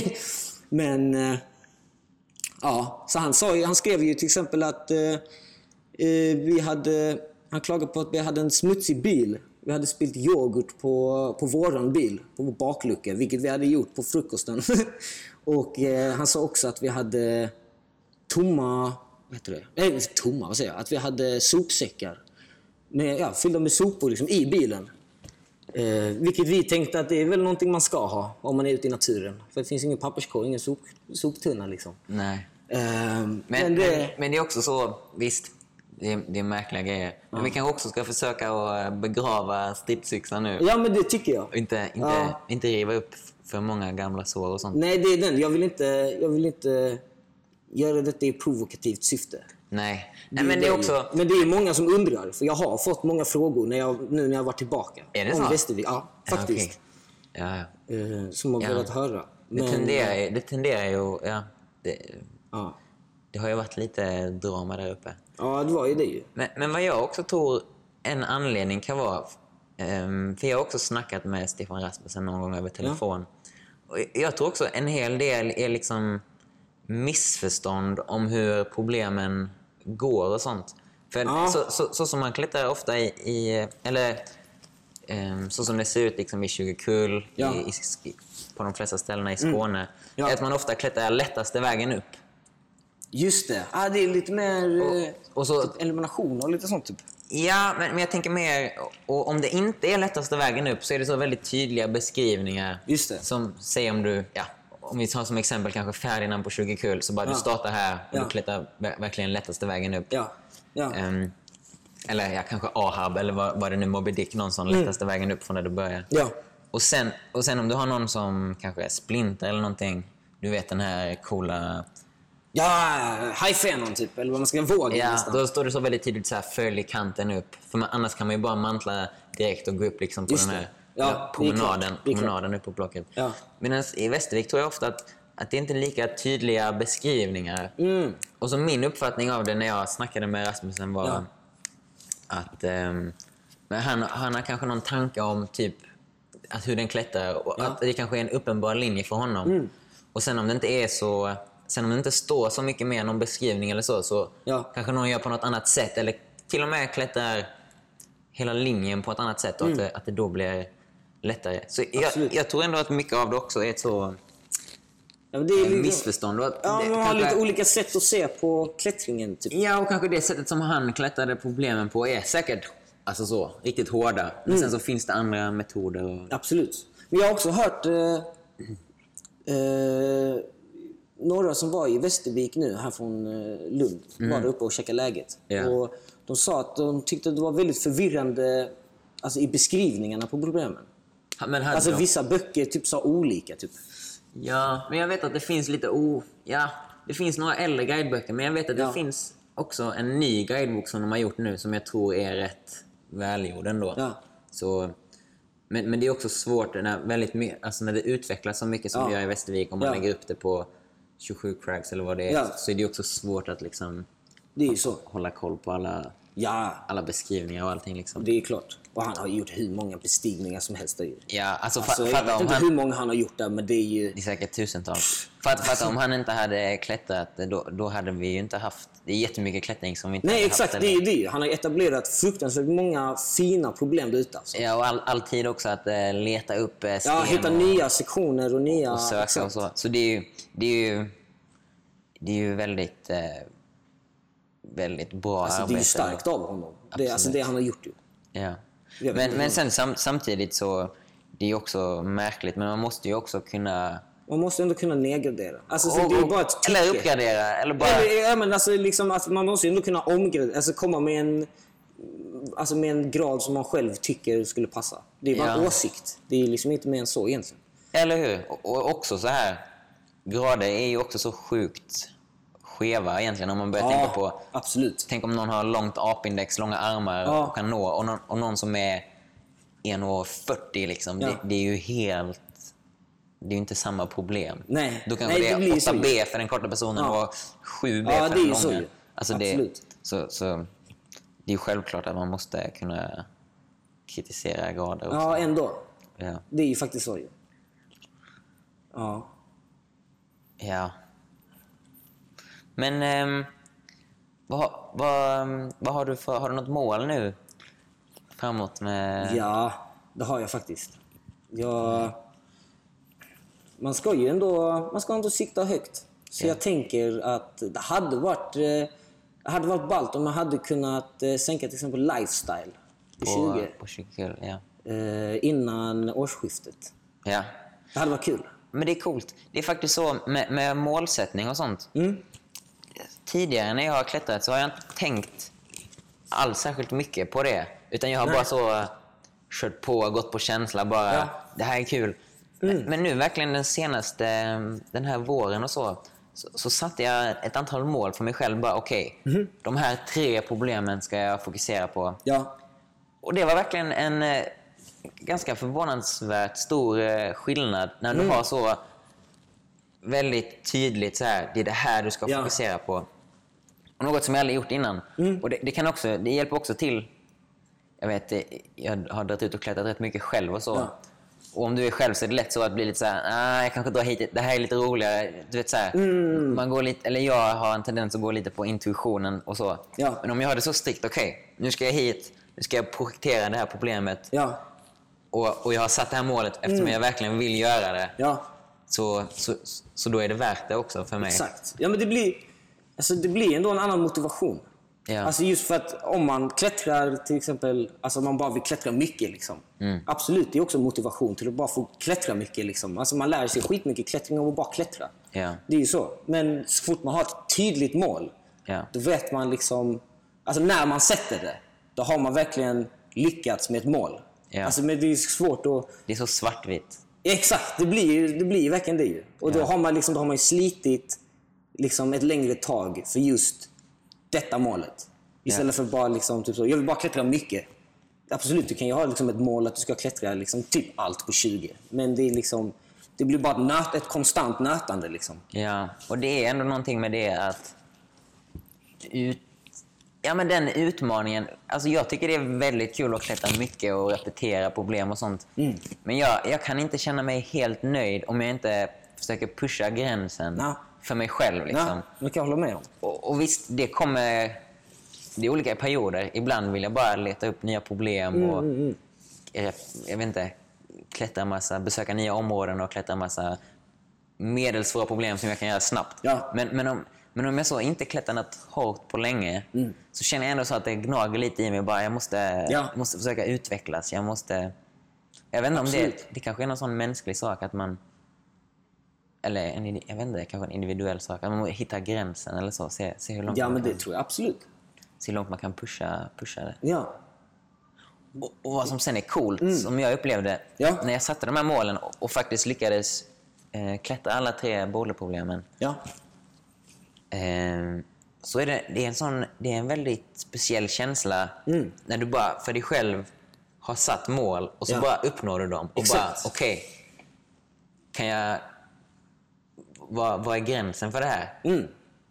S2: [LAUGHS] men eh, ja, så han, sa ju, han skrev ju till exempel att eh, eh, vi hade, han klagade på att vi hade en smutsig bil. Vi hade spilt yoghurt på, på våran bil, på vår baklucka, vilket vi hade gjort på frukosten. [LAUGHS] och eh, han sa också att vi hade tomma, vad heter det? Nej, inte tomma, vad säger jag? Att vi hade sopsäckar. Med, ja, fyllda med sopor liksom, i bilen. Eh, vilket vi tänkte att det är väl någonting man ska ha om man är ute i naturen. För det finns ingen papperskorg, ingen sop, soptunna liksom.
S1: Nej.
S2: Eh,
S1: Men,
S2: men det...
S1: men det är också så, visst, det är, det är märkliga grejer. Men vi kanske också ska försöka att eh, begrava stridsyxan nu.
S2: Ja, men det tycker jag.
S1: Och inte, inte,
S2: Ja.
S1: inte riva upp för många gamla sår och sånt.
S2: Nej, det är den. Jag vill inte, jag vill inte göra detta i provokativt syfte.
S1: Nej. Nej, men det är
S2: ju-
S1: också...
S2: men det är många som undrar, för jag har fått många frågor när jag, nu när jag varit tillbaka.
S1: Är det
S2: om
S1: så?
S2: Västervik. Ja, faktiskt.
S1: Ja, okej. ja. ja.
S2: Eh, som har
S1: Ja.
S2: velat höra.
S1: Det tenderar, ju- det tenderar ju... Ja, det,
S2: ja.
S1: det har ju varit lite drama där uppe.
S2: ja, det var ju det ju.
S1: Men, men vad jag också tror en anledning kan vara... ehm, för jag har också snackat med Stefan Rasmussen någon gång över telefon. Och jag tror också en hel del är liksom missförstånd om hur problemen går och sånt. För
S2: Ja.
S1: så, så, så som man klättrar ofta i... i eller ehm, så som det ser ut liksom i 20 kul
S2: Ja. Mm.
S1: i, i, sk- på de flesta ställena i Skåne.
S2: Ja.
S1: är Att man ofta klättrar lättaste vägen upp.
S2: Just det. Ja, det är lite mer eh,
S1: Och så
S2: typ elimination och lite sånt. Typ.
S1: Ja, men, men jag tänker mer... Och om det inte är lättaste vägen upp så är det så väldigt tydliga beskrivningar.
S2: Just det.
S1: Som säger om du... Ja, om vi tar som exempel kanske Ferdinand på 20 kul. Så bara
S2: Ja.
S1: du startar här och
S2: Ja.
S1: du klättrar ver- verkligen lättaste vägen upp.
S2: Ja. ja.
S1: Ehm, eller ja, kanske Ahab eller vad, vad det nu Moby Dick. Någon sån
S2: Mm.
S1: lättaste vägen upp från där du börjar.
S2: ja.
S1: Och sen, och sen om du har någon som kanske är splinter eller någonting. Du vet den här coola...
S2: Ja, hajfenon typ, eller vad man ska våga
S1: Ja,
S2: nästan.
S1: då står det så väldigt tydligt så här följ kanten upp. För man, annars kan man ju bara mantla direkt och gå upp liksom på
S2: Just
S1: den
S2: det.
S1: här
S2: Ja,
S1: ja,
S2: det är klart.
S1: promenaden,
S2: Det är klart.
S1: promenaden upp på blocket.
S2: Ja.
S1: Medan i Västervik tror jag ofta att, att det inte är lika tydliga beskrivningar.
S2: Mm.
S1: Och så min uppfattning av det när jag snackade med Rasmussen var
S2: Ja.
S1: att ehm, men han, han har kanske någon tanke om typ att hur den klättrar och att det kanske är en uppenbar linje för honom.
S2: Mm.
S1: Och sen om det inte är så Sen om det inte står så mycket mer någon beskrivning eller så, så
S2: Ja.
S1: kanske någon gör på något annat sätt. Eller till och med klättrar hela linjen på ett annat sätt och att, det, att det då blir lättare. Så jag,
S2: Mm. Absolut.
S1: jag tror ändå att mycket av det också är ett så
S2: Ja, men det är lite-
S1: missförstånd. Och att
S2: Ja,
S1: det,
S2: man har
S1: kanske-
S2: lite olika sätt att se på klättringen. Typ.
S1: Ja, och kanske det sättet som han klättrade problemen på är säkert alltså så, riktigt hårda. Men
S2: Mm.
S1: sen så finns det andra metoder. Och...
S2: Absolut. Men jag har också hört eh, eh, några som var i Västervik nu, här från eh, Lund, var där uppe och checkade läget.
S1: Mm. Ja.
S2: Och de sa att de tyckte att det var väldigt förvirrande alltså, i beskrivningarna på problemen.
S1: Ha- Men hade
S2: Alltså
S1: de-
S2: vissa böcker typ sa olika. Typ.
S1: Ja, men jag vet att det finns lite o... Ja, det finns några äldre guideböcker, men jag vet att det
S2: Ja.
S1: finns också en ny guidebok som de har gjort nu som jag tror är rätt välgjord ändå.
S2: Ja.
S1: Så, men, men det är också svårt när, väldigt, my- alltså när det utvecklas så mycket som
S2: Ja.
S1: vi gör i Västervik, om man
S2: Ja.
S1: lägger upp det på 27 crags eller vad det är,
S2: Ja.
S1: så är det också svårt att liksom
S2: Det är ju så.
S1: hålla koll på alla,
S2: Ja,
S1: alla beskrivningar och allting. Liksom.
S2: det är klart. Och han har gjort hur många bestigningar som helst där ju.
S1: Ja, alltså, fa-
S2: Alltså, jag
S1: fatta
S2: vet
S1: om
S2: inte
S1: han...
S2: hur många han har gjort där, men det är ju...
S1: Det är säkert tusentals. [LAUGHS] Alltså- Fatta, fatta om han inte hade klättrat, då, då hade vi ju inte haft... Det är jättemycket klättring som vi inte
S2: Nej,
S1: hade
S2: exakt.
S1: haft.
S2: Det är
S1: eller-
S2: ju det. Han har etablerat fruktansvärt många fina problem där ute. Alltså.
S1: Ja, och all, all tid också att eh, leta upp eh, sten
S2: Ja, hitta
S1: och,
S2: nya sektioner och nya...
S1: och söka
S2: exakt.
S1: och så. Så det är ju... Det är ju, det är ju väldigt... Eh, väldigt bra
S2: Alltså, det är
S1: arbete.
S2: ju starkt av honom. Det, är alltså, det han har gjort. Ju.
S1: Ja.
S2: Jag vet
S1: Men,
S2: inte.
S1: men sen sam, samtidigt så, det är ju också märkligt, men man måste ju också kunna...
S2: Man måste ändå kunna nedgradera. Alltså, så
S1: och-
S2: det är ju
S1: och-
S2: bara ett
S1: eller
S2: tycke.
S1: uppgradera, eller bara...
S2: Ja, men- ja, men alltså, liksom, att man måste ju ändå kunna omgradera, alltså komma med en, alltså, med en grad som man själv tycker skulle passa. Det är bara en
S1: Ja.
S2: åsikt. Det är liksom inte mer än så egentligen.
S1: Eller hur? Och- Och också så här, grader är ju också så sjukt skeva egentligen om man börjar tänka på...
S2: absolut.
S1: Tänk om någon har långt apindex, långa armar
S2: Ja.
S1: och kan nå, och någon, och någon som är 1,40 liksom.
S2: Ja.
S1: Det, det är ju helt... Det är ju inte samma problem.
S2: Nej.
S1: Då kanske
S2: Nej, det
S1: det,
S2: blir ju så
S1: är 8B för den korta personen
S2: Ja.
S1: och 7B för
S2: Ja, det är
S1: den
S2: ju så
S1: långa.
S2: ju.
S1: Alltså det,
S2: Absolut.
S1: så, så, det är ju självklart att man måste kunna kritisera grader också.
S2: Ja, ändå.
S1: Ja.
S2: Det är ju faktiskt så ju. Ja.
S1: Ja. Men ehm, vad, har- vad, ehm, vad har du för, har du något mål nu framåt med...
S2: Ja, det har jag faktiskt. Jag... Man ska ju ändå, man ska ändå sikta högt. Så jag tänker att det hade varit, eh, det hade varit ballt om man hade kunnat eh, sänka till exempel lifestyle på
S1: på
S2: 20
S1: På 20 kul, ja.
S2: eh, innan årsskiftet.
S1: ja.
S2: Det hade varit kul.
S1: Men det är coolt. Det är faktiskt så med, med målsättning och sånt.
S2: Mm?
S1: Tidigare när jag har klättrat så har jag inte tänkt alls särskilt mycket på det. Utan jag har bara så kört på, gått på känsla bara. Det här är kul. Men nu verkligen den senaste, den här våren och så, så, så satte jag ett antal mål för mig själv. Bara okej, de här tre problemen ska jag fokusera på.
S2: Ja,
S1: Och det var verkligen en eh, ganska förvånansvärt stor eh, skillnad när
S2: Mm.
S1: du har så väldigt tydligt så här, det är det här du ska
S2: Ja.
S1: fokusera på. Och något som jag aldrig gjort innan.
S2: Mm.
S1: Och det, det, kan också, det hjälper också till, jag vet, eh, jag har dragit ut och klättrat rätt mycket själv och så.
S2: Ja.
S1: Och om du är själv så är det lätt så att bli lite så här, ah, jag kanske drar hit, det här är lite roligare. Du vet så här,
S2: Mm.
S1: man går lite, eller jag har en tendens att gå lite på intuitionen och så.
S2: Ja.
S1: Men om jag har det så strikt, okej, nu ska jag hit, nu ska jag projektera det här problemet
S2: ja,
S1: och, och jag har satt det här målet eftersom
S2: Mm.
S1: jag verkligen vill göra det.
S2: ja.
S1: Så, så, så då är det värt det också för mig.
S2: Exakt. Ja, men det blir, alltså, det blir ändå en annan motivation.
S1: Ja.
S2: Alltså just för att om man klättrar till exempel, alltså man bara vill klättra mycket. Liksom.
S1: Mm.
S2: Absolut, det är också motivation till att bara få klättra mycket. Liksom. Alltså man lär sig skitmycket klättring av att bara klättra.
S1: Ja.
S2: Det är ju så. Men så fort man har ett tydligt mål,
S1: Ja.
S2: då vet man liksom... Alltså när man sätter det, då har man verkligen lyckats med ett mål.
S1: Ja.
S2: Alltså men det är ju svårt att...
S1: Det är så svartvitt.
S2: Exakt, det blir ju det blir ju verkligen det ju. Och då har man, liksom, då har man ju slitit liksom, ett längre tag för just detta målet. Istället för bara liksom, typ så, jag vill bara klättra mycket. Absolut, du kan ju ha liksom, ett mål att du ska klättra liksom, typ allt på 20. Men det, är liksom, det blir bara ett, nöt, ett konstant nötande. Liksom.
S1: Ja, och det är ändå någonting med det att... Ut, ja, men den utmaningen. Alltså jag tycker det är väldigt kul att klättra mycket och repetera problem och sånt.
S2: Mm.
S1: Men jag, jag kan inte känna mig helt nöjd om jag inte försöker pusha gränsen
S2: Nej.
S1: för mig själv. Liksom.
S2: Ja, det kan jag hålla med om.
S1: Och, och visst, det kommer... Det är olika perioder. Ibland vill jag bara leta upp nya problem
S2: Mm,
S1: och rep- jag vet inte, klättra en massa, besöka nya områden och klättra en massa medelsvåra problem som jag kan göra snabbt.
S2: Ja.
S1: Men, men, om, men om jag så inte klättrar något hårt på länge så känner jag ändå så att det gnager lite i mig. Bara, jag måste,
S2: Mm. Ja.
S1: jag måste försöka utvecklas. Jag måste... Jag vet inte om det,
S2: Absolut.
S1: det kanske är någon sån mänsklig sak att man... Eller en, indi- jag vet inte, kanske en individuell sak. Att man måste hitta gränsen eller så. Se, se, hur, långt
S2: Ja,
S1: man
S2: men
S1: kan,
S2: det tror jag absolut.
S1: se hur långt man kan pusha, pusha det.
S2: Ja,
S1: Och, och vad som sen är coolt, som jag upplevde
S2: Ja.
S1: när jag satte de här målen och, och faktiskt lyckades eh, klättra alla tre boulderproblemen.
S2: ja,
S1: Eh, så är det, det, är en sån, det är en väldigt speciell känsla
S2: Mm.
S1: när du bara för dig själv har satt mål och så
S2: Ja.
S1: bara uppnår du dem. Och
S2: Exakt.
S1: bara, okej, kan jag... Vad, vad är gränsen för det här?
S2: Mm.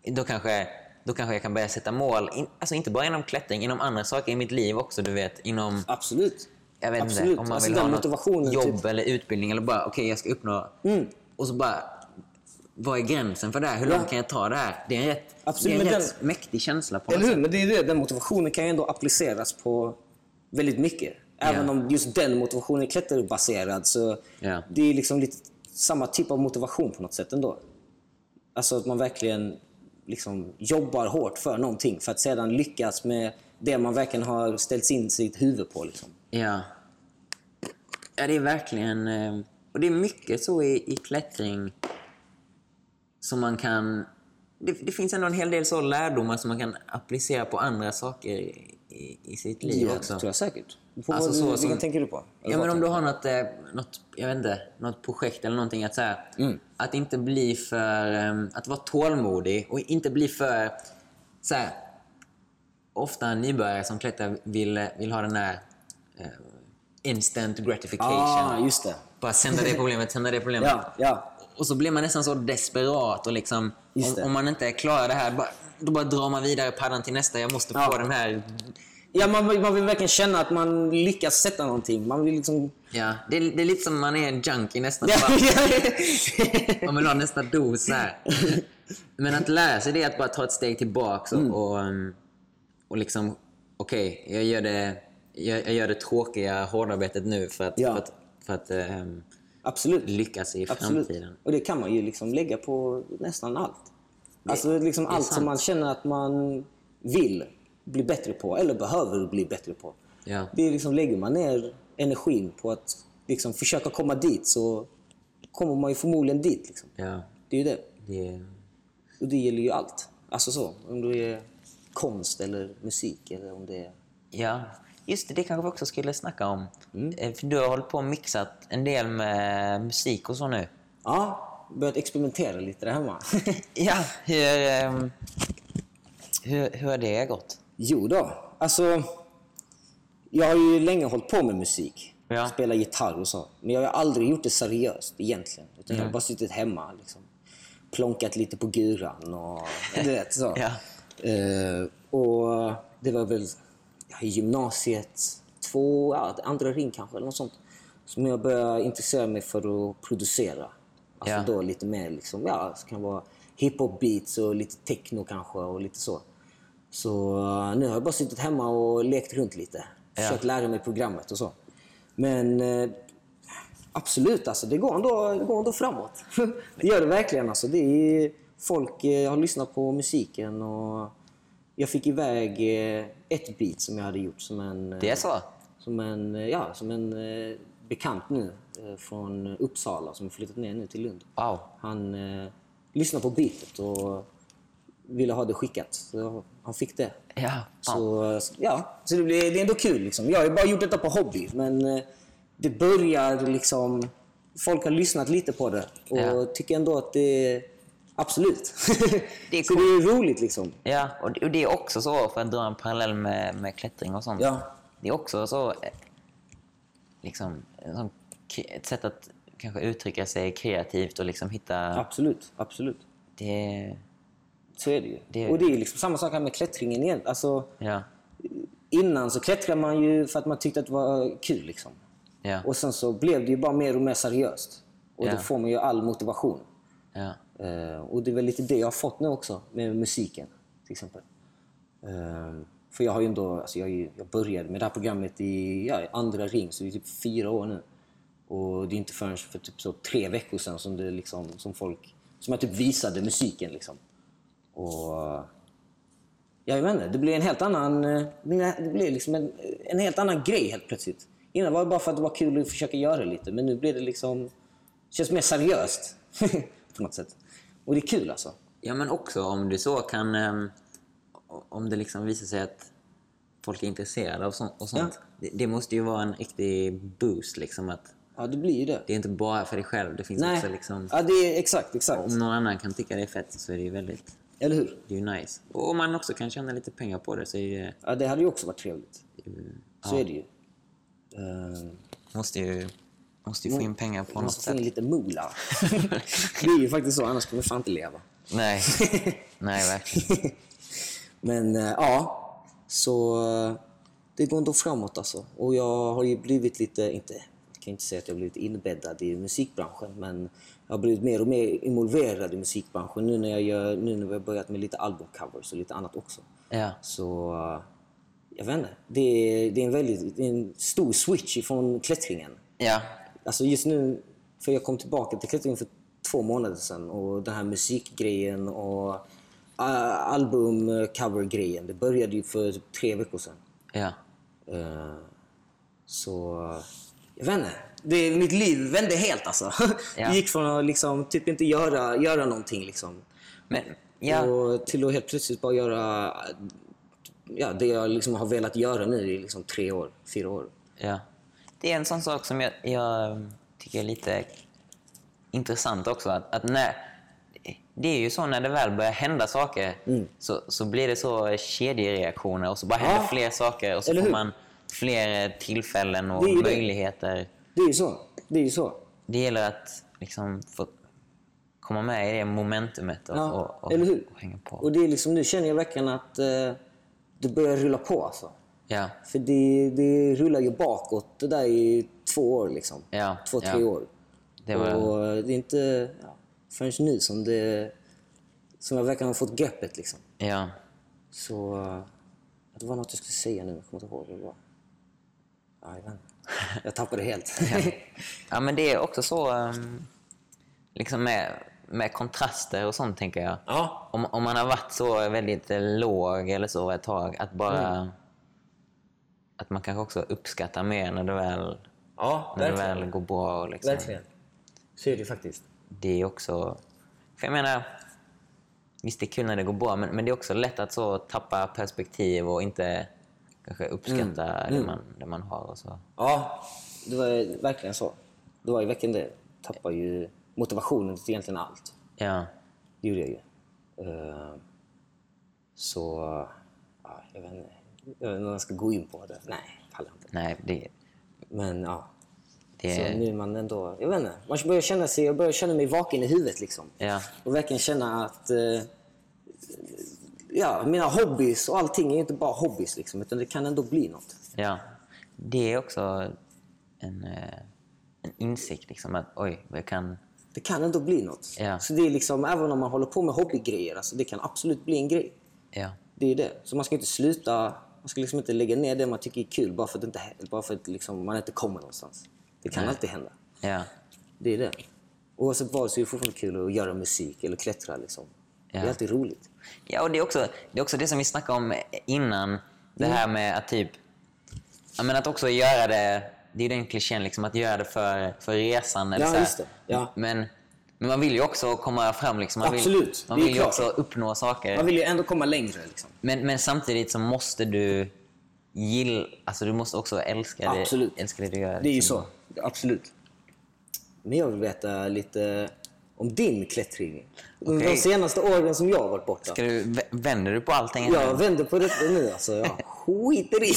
S1: Då, kanske, då kanske jag kan börja sätta mål, in, alltså inte bara inom klättring, inom andra saker i mitt liv också, du vet. Inom...
S2: absolut.
S1: Jag vet
S2: Absolut.
S1: inte, om man
S2: Alltså,
S1: vill
S2: den
S1: ha
S2: motivationen,
S1: något jobb
S2: typ. Mm.
S1: eller utbildning eller bara, okej jag ska uppnå... Och så bara, vad är gränsen för det här? Hur
S2: Ja.
S1: långt kan jag ta det här? Det är en rätt,
S2: Absolut,
S1: det är en
S2: men
S1: rätt mäktig känsla på något
S2: Eller hur?
S1: sätt.
S2: Men det är ju det. Den motivationen kan ju ändå appliceras på väldigt mycket. Även
S1: Ja.
S2: om just den motivationen är klätterbaserad så
S1: Ja.
S2: det är liksom lite samma typ av motivation på något sätt ändå. Alltså att man verkligen liksom jobbar hårt för någonting för att sedan lyckas med det man verkligen har ställt in sitt huvud på. Liksom.
S1: Ja. Ja, det är verkligen... eh, Och det är mycket så i, i klättring som man kan... Det, det finns ändå en hel del så lärdomar som man kan applicera på andra saker i, i sitt liv
S2: Ja, det
S1: också.
S2: tror jag säkert. På
S1: Alltså,
S2: vad,
S1: så
S2: vilken
S1: som-
S2: tänker du på? Eller
S1: Ja, men
S2: vad
S1: om du har något, eh, något, jag vet inte, något projekt eller någonting att säga.
S2: Mm.
S1: Att inte bli för... eh, Att vara tålmodig och inte bli för... Så här, ofta nybörjare som klättrar vill, vill ha den där eh, instant gratification.
S2: Ah, just det.
S1: Bara sända det problemet, sända det problemet.
S2: Ja, ja.
S1: Och så blir man nästan så desperat och liksom,
S2: Just
S1: om,
S2: det.
S1: om man inte klarar det här, bara, då bara drar man vidare paddan till nästa. Jag måste få den här...
S2: ja man, vill- man vill verkligen känna att man lyckas sätta någonting. Man vill liksom... [LAUGHS]
S1: Ja, det, är- det är lite som man är en junkie nästan.
S2: Ja,
S1: Bara, [LAUGHS]
S2: ja.
S1: man vill ha nästa dos här. Men att lära sig det är att bara ta ett steg tillbaka och, och, um, och liksom, okej, jag, gör det, jag, jag gör det tråkiga hårdarbetet nu för att,
S2: Ja.
S1: för att, för att ehm,
S2: Absolut.
S1: lyckas i
S2: Absolut.
S1: framtiden.
S2: Och det kan man ju liksom lägga på nästan allt. Alltså liksom allt som man känner att man vill bli bättre på eller behöver bli bättre på.
S1: Ja.
S2: Det är liksom, lägger man ner energin på att liksom försöka komma dit så kommer man ju förmodligen dit. Liksom.
S1: Ja,
S2: Det är ju det.
S1: det är...
S2: Och det gäller ju allt. Alltså så, om det är konst eller musik eller om det är...
S1: Ja, just det. Det kanske vi också skulle snacka om. Eh, För du har hållit på och mixat en del med musik och så nu.
S2: Ja, börjat experimentera lite där hemma. [LAUGHS]
S1: Ja, hur, ehm, hur, hur har det gått?
S2: Jo då, alltså jag har ju länge hållit på med musik.
S1: Ja.
S2: Spela gitarr och så. Men jag har aldrig gjort det seriöst egentligen. Utan jag har bara suttit hemma liksom. Plonkat lite på guran och du vet så.
S1: Ja.
S2: Eh, och det var väl ja, i gymnasiet, två, ja, andra ring kanske eller något sånt. Som jag började intressera mig för att producera. Alltså
S1: Ja.
S2: då lite mer liksom, ja, så kan det vara hiphop beats och lite techno kanske och lite så. Så eh, nu har jag bara suttit hemma och lekt runt lite. Försökt lära mig programmet och så. Men eh, absolut, alltså, det, går ändå, det går ändå framåt. [LAUGHS] det gör det verkligen. Alltså. Det är, folk eh, har lyssnat på musiken och jag fick iväg eh, ett beat som jag hade gjort som en... eh,
S1: Det är så?
S2: som en, eh, ja, som en eh, bekant nu eh, från Uppsala som har flyttat ner nu till Lund.
S1: Wow.
S2: Han eh, lyssnade på beatet och ville ha det skickat. Så han fick det.
S1: Ja. fan.
S2: Så, eh, ja, så det, blir, det är ändå kul. Liksom. Jag har ju bara gjort detta på hobby, men eh, det börjar liksom... Folk har lyssnat lite på det och
S1: Ja.
S2: tycker ändå att det är... Absolut.
S1: Det är
S2: [LAUGHS] så det är roligt liksom.
S1: Ja, och det, och det är också så, för att dra en parallell med, med klättring och sånt.
S2: Ja.
S1: Det är också så, eh, liksom, en sån, k- ett sätt att kanske uttrycka sig kreativt och liksom hitta...
S2: Absolut, absolut.
S1: Det,
S2: Så är det ju.
S1: Det är
S2: Och det är liksom samma sak här med klättringen igen. Alltså,
S1: ja,
S2: innan så klättrade man ju för att man tyckte att det var kul. Liksom.
S1: ja,
S2: Och sen så blev det ju bara mer och mer seriöst. Och
S1: Ja.
S2: då får man ju all motivation.
S1: ja,
S2: Eh, och det är väl lite det jag har fått nu också med musiken till exempel. Eh, för jag har ju ändå, alltså jag, har ju- jag började med det här programmet i ja, i andra ring, så det är typ fyra år nu. Och det är inte förrän för typ så tre veckor sedan som, det liksom, som, folk, som jag typ visade musiken. Liksom. Och Ja, jag vet inte. Det blir en helt annan, eh, det blir liksom en, en helt annan grej helt plötsligt. Innan var det bara för att det var kul att försöka göra det lite, men nu blir det liksom... Det känns mer seriöst [LAUGHS] på något sätt. Och det är kul alltså.
S1: ja. men också om du så kan... ehm, o- Om det liksom visar sig att folk är intresserade av sånt, och sånt. Det, det måste ju vara en riktig boost liksom att
S2: Ja, det blir ju det.
S1: det är inte bara för dig själv. Det finns
S2: Nej,
S1: också liksom...
S2: ja, det är exakt, exakt.
S1: Om någon annan kan tycka det är fett så är det ju väldigt...
S2: Eller hur?
S1: Det är ju nice. Och om man också kan tjäna lite pengar på det så är det,
S2: Ja, det hade ju också varit trevligt. Så är det
S1: Eh,
S2: ju. Ehm,
S1: måste ju, måste ju få in pengar på
S2: man
S1: något
S2: måste få
S1: sätt.
S2: in lite mula. [LAUGHS] det är ju faktiskt så, annars kommer vi fan inte leva.
S1: [LAUGHS] Nej. Nej, verkligen.
S2: [LAUGHS] Men eh, ja, så eh, det går ändå framåt alltså. Och jag har ju blivit lite, inte, jag kan inte säga att jag har blivit inbäddad i musikbranschen, men jag har blivit mer och mer involverad i musikbranschen nu när jag, gör, nu när jag har börjat med lite albumcovers och lite annat också.
S1: Ja.
S2: Så eh, jag vet inte, det är, det är en väldigt det är en stor switch ifrån klättringen.
S1: Ja.
S2: Alltså just nu, för jag kom tillbaka till klättringen för två månader sedan och den här musikgrejen och uh, albumcover-grejen. Det började ju för typ tre veckor sedan.
S1: Ja.
S2: Eh, så... Jag vet inte. Det, mitt liv vände helt alltså. [LAUGHS]
S1: Ja.
S2: Det gick från att liksom, typ inte göra, göra någonting liksom.
S1: Men, ja.
S2: Och till att helt plötsligt bara göra ja, det jag liksom har velat göra nu i liksom tre år, fyra år.
S1: ja. Det är en sån sak som jag, jag mm, tycker är lite intressant också. Att, att när, det är ju så när det väl börjar hända saker så, så blir det så kedjereaktioner och så bara händer
S2: Ja.
S1: fler saker och så
S2: Eller
S1: får
S2: hur?
S1: man fler eh, tillfällen och
S2: Det är ju det.
S1: möjligheter.
S2: Det är ju så. Det är ju så.
S1: Det gäller att liksom få komma med i det momentumet och,
S2: Ja,
S1: och, och,
S2: eller hur?
S1: och hänga på.
S2: Och det är liksom, nu känner jag verkligen att eh, det börjar rulla på alltså.
S1: ja,
S2: För det, det rullar ju bakåt. Det där är ju två år liksom.
S1: Ja,
S2: två, tre
S1: ja.
S2: år.
S1: det var
S2: Och eh, det är inte ja, förrän nu som, det, som jag verkligen har fått greppet liksom.
S1: Ja.
S2: [LAUGHS] Så... eh, Det var något jag skulle säga nu, men jag kommer inte ihåg vad det var. Ja, jag vet inte. Jag tappade det helt.
S1: [LAUGHS] ja, men det är också så ehm, liksom med, med kontraster och sånt, tänker jag.
S2: ja.
S1: Om, om man har varit så väldigt eh, låg eller så ett tag, att bara...
S2: Mm.
S1: Att man kanske också uppskattar mer när det väl,
S2: Ja,
S1: när det väl går bra. och Liksom.
S2: Verkligen. Så är det faktiskt.
S1: det är också... För jag menar, visst det är kul när det går bra, men, men det är också lätt att så tappa perspektiv och inte kanske uppskatta Det, man, det man har. Och så.
S2: Ja, det var ju verkligen så. Det var ju verkligen det. Tappar ju motivationen till egentligen allt.
S1: Ja,
S2: Det gjorde jag ju. Eh, Så... Ja, jag vet inte. Jag vet inte om jag ska gå in på det. Nej, pallar inte.
S1: nej, det,
S2: Men ja.
S1: det
S2: Så nu är man ändå... Jag vet inte. Man börjar känna sig... Jag börjar känna mig vaken i huvudet liksom.
S1: Ja,
S2: Och verkligen känna att... eh, Ja, mina hobbys och allting är inte bara hobbys liksom. Utan det kan ändå bli något.
S1: ja. Det är också en, eh, en insikt, liksom att oj, jag kan...
S2: Det kan ändå bli något.
S1: Ja.
S2: Så det är liksom, även om man håller på med hobbygrejer, alltså, det kan absolut bli en grej.
S1: Ja,
S2: Det är det. Så man ska inte sluta, man ska liksom inte lägga ner det man tycker är kul bara för att, inte, bara för att liksom, man inte kommer någonstans. Det kan alltid hända.
S1: ja,
S2: Det är det. Oavsett vad så är det fortfarande kul att göra musik eller klättra. Liksom. Det
S1: Ja.
S2: är alltid roligt.
S1: ja och det är, också, det är också det som vi snackade om innan. Det här
S2: Mm.
S1: med att typ... Ja, men att också göra det... Det är ju den klichén, liksom, att göra det för, för resan. Eller
S2: Ja,
S1: så här.
S2: just det. Ja.
S1: Men, men man vill ju också komma fram. Liksom. Man Vill,
S2: Absolut,
S1: man
S2: det är
S1: vill ju
S2: klart.
S1: också uppnå saker.
S2: Man vill ju ändå komma längre. Liksom.
S1: Men, men samtidigt så måste du gilla... Alltså du måste också älska det,
S2: Absolut.
S1: älska det du gör.
S2: Det är ju
S1: liksom.
S2: så. Absolut. Men jag vill veta lite om din klättring.
S1: Okej.
S2: De senaste åren som jag har varit borta.
S1: Ska du, vä- vänder du på allting? här?
S2: Jag vänder på detta nu alltså. Jag skiter i.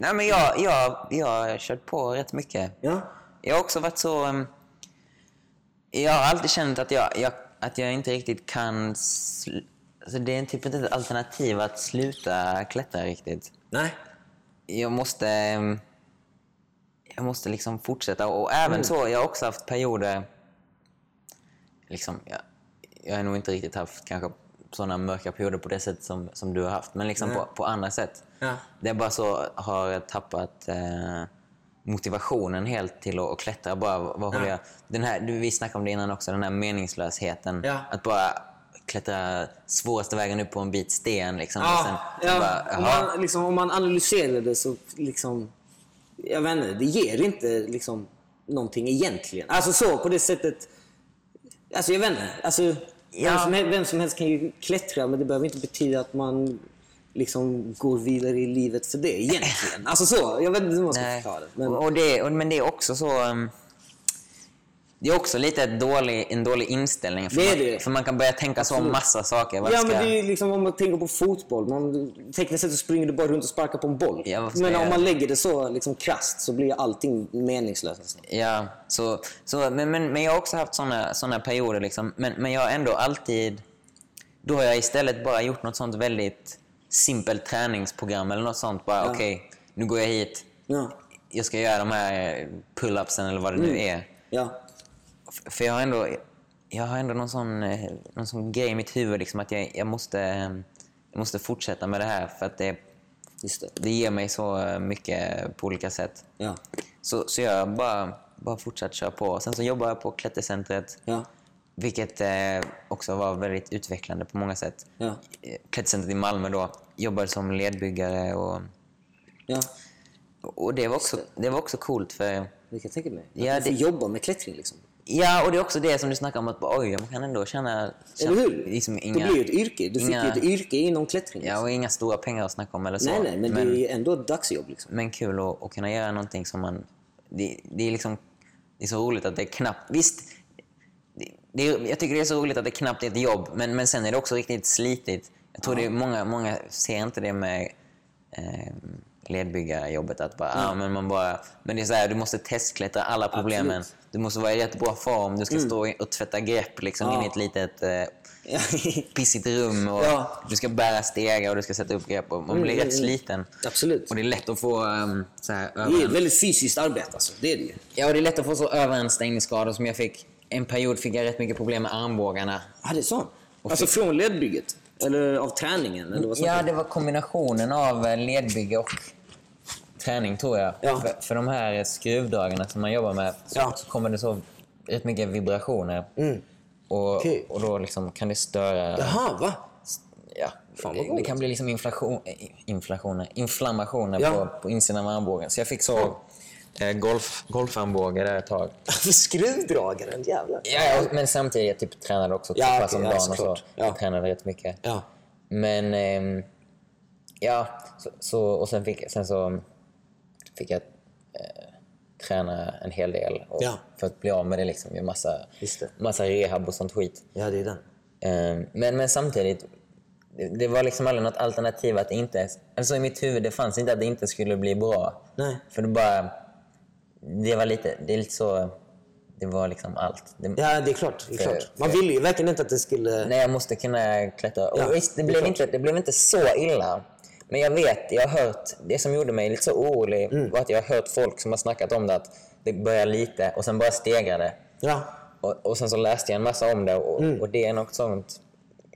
S1: Nej, men jag, jag, jag har kört på rätt mycket.
S2: [LAUGHS] ja.
S1: Jag har också varit så... ehm, Jag har alltid känt att jag, jag, att jag inte riktigt kan... Sl- alltså det är typ inte ett alternativ att sluta klättra riktigt.
S2: Nej.
S1: jag måste... ehm, Jag måste liksom fortsätta. Och även så, jag har också haft perioder... Liksom, jag, jag har nog inte riktigt haft kanske sådana mörka perioder på det sätt som, som du har haft. Men liksom på, på andra sätt.
S2: Ja.
S1: Det är bara så har jag tappat eh, motivationen helt till att, att klättra. Bara, vad håller jag, den här, du, vi snackade om det innan också, den här meningslösheten.
S2: Ja.
S1: Att bara klättra svåraste vägen upp på en bit sten. Liksom, och sen,
S2: Ja,
S1: sen
S2: ja.
S1: bara,
S2: Om,
S1: jaha.
S2: man, liksom, om man analyserar det så liksom... Jag vet inte, det ger inte liksom någonting egentligen. Alltså så, på det sättet. Alltså jag vet inte. Alltså, vem, som helst, vem som helst kan ju klättra men det behöver inte betyda att man liksom går vidare i livet för det egentligen. Alltså så, jag vet inte hur man ska
S1: Nej.
S2: förklara det. Men,
S1: Och och det, och, men det är också så... ehm, Det är också lite ett dålig, en dålig inställning. För,
S2: Det är
S1: man,
S2: det.
S1: för man kan börja tänka så om massa saker. Vad
S2: Ja,
S1: ska
S2: men
S1: jag-
S2: det är liksom om man tänker på fotboll. Man, tekniskt sett så springer du bara runt och sparkar på en boll.
S1: Ja, vad ska
S2: men
S1: jag
S2: om
S1: göra?
S2: man lägger det så liksom krasst så blir allting meningslöst. alltså. nästan.
S1: Ja, så, så, men, men, men jag har också haft såna, såna perioder. Liksom. Men, men jag har ändå alltid... Då har jag istället bara gjort något sånt väldigt simpelt träningsprogram eller något sånt. Bara okej, nu går jag hit.
S2: Ja.
S1: Jag ska göra de här pull-upsen eller vad det nu är.
S2: Ja.
S1: F- För jag har ändå, jag har ändå någon, sån, eh, någon sån grej i mitt huvud, liksom, att jag, jag, måste, eh, jag måste fortsätta med det här för att det,
S2: Just det.
S1: det ger mig så eh, mycket på olika sätt.
S2: Ja.
S1: Så, så jag bara, bara fortsatt köra på. Sen så jobbar jag på klättercentret
S2: Ja.
S1: Vilket eh, också var väldigt utvecklande på många sätt.
S2: Ja.
S1: Eh, Klädcentret i Malmö då, jobbade som ledbyggare och,
S2: Ja,
S1: och det, var också, det var också coolt för
S2: det kan jag tänka mig. Att
S1: Ja,
S2: man får
S1: det-
S2: jobba med klättring liksom.
S1: Ja, och det är också det som du snackar om att bara, oj, man kan ändå tjäna... tjäna
S2: Eller hur?
S1: Liksom
S2: det
S1: inga,
S2: blir ju ett yrke. Du
S1: inga-
S2: fick ju ett yrke inom klättring.
S1: Ja,
S2: liksom.
S1: och inga stora pengar att snacka om eller så.
S2: nej, nej, men, det är ju ändå ett dagsjobb liksom. [LAUGHS]
S1: men kul att, att kunna göra någonting som man... Det, det är liksom... Det är så roligt att det är knappt... Visst, det, det, är- jag tycker det är så roligt att det knappt är ett jobb, men, men sen är det också riktigt slitigt. Jag tror det är många, många ser inte det med eh, ledbyggarjobbet, att bara, ah, men man bara... Men det är så här, du måste testklättra alla problemen. Du måste vara i jättebra form, du ska stå i- och tvätta grepp liksom, in i ett litet... Eh,
S2: Ja,
S1: pissigt rum och
S2: Ja.
S1: du ska bära stegar och du ska sätta upp grepp och man blir rätt sliten.
S2: Absolut.
S1: Och det är lätt att få um, så här,
S2: Det är
S1: över...
S2: ju ett väldigt fysiskt arbete alltså. Det är det ju.
S1: Ja, och det är lätt att få så överansträngningsskador som jag fick. En period fick jag rätt mycket problem med armbågarna.
S2: Ja, det är så. Alltså från ledbygget? Eller av träningen? Eller vad som
S1: Ja, det var kombinationen av eh, ledbygge och träning tror jag.
S2: Ja.
S1: För, för de här eh, skruvdragarna som man jobbar med så,
S2: Ja.
S1: så kommer det så rätt mycket vibrationer. Och,
S2: Okej.
S1: och då liksom kan det störa
S2: Jaha, va?
S1: Ja,
S2: Fan, vad
S1: det, det
S2: roligt.
S1: kan bli liksom inflation, eh, inflationer, inflammationer
S2: Ja.
S1: på, på insidan av armbågen. Så jag fick så eh, golf, golfarmbåge där ett tag.
S2: För skruvdragaren, jävlar.
S1: Ja, ja, men samtidigt jag typ tränade också
S2: Ja,
S1: två
S2: okej,
S1: pass om
S2: ja,
S1: dagen och så.
S2: såklart. Ja.
S1: Jag tränade rätt mycket.
S2: Ja.
S1: Men ehm, ja, så, så, och sen fick, sen så fick jag eh, träna en hel del och,
S2: Ja.
S1: för att bli av med det. Liksom, med massa,
S2: Just det.
S1: massa rehab och sånt skit.
S2: ja, det är den.
S1: Eh, Men, men samtidigt, det- det var liksom aldrig något alternativ att det inte... Alltså i mitt huvud, det fanns inte att det inte skulle bli bra.
S2: Nej.
S1: För det bara... Det var lite, det är lite så... Det var liksom allt. Det,
S2: Ja, det är klart. Det är
S1: För-
S2: klart. Man ville ju verkligen inte att det skulle...
S1: Nej, jag måste kunna klättra.
S2: Ja,
S1: och visst, det,
S2: det är
S1: blev
S2: klart.
S1: inte, det blev inte så illa. Men jag vet, jag har hört, det som gjorde mig lite så orolig
S2: Mm.
S1: var att jag har hört folk som har snackat om det att det börjar lite och sen bara stegar det.
S2: Ja.
S1: Och, och sen så läste jag en massa om det och,
S2: Mm.
S1: och det är något sånt.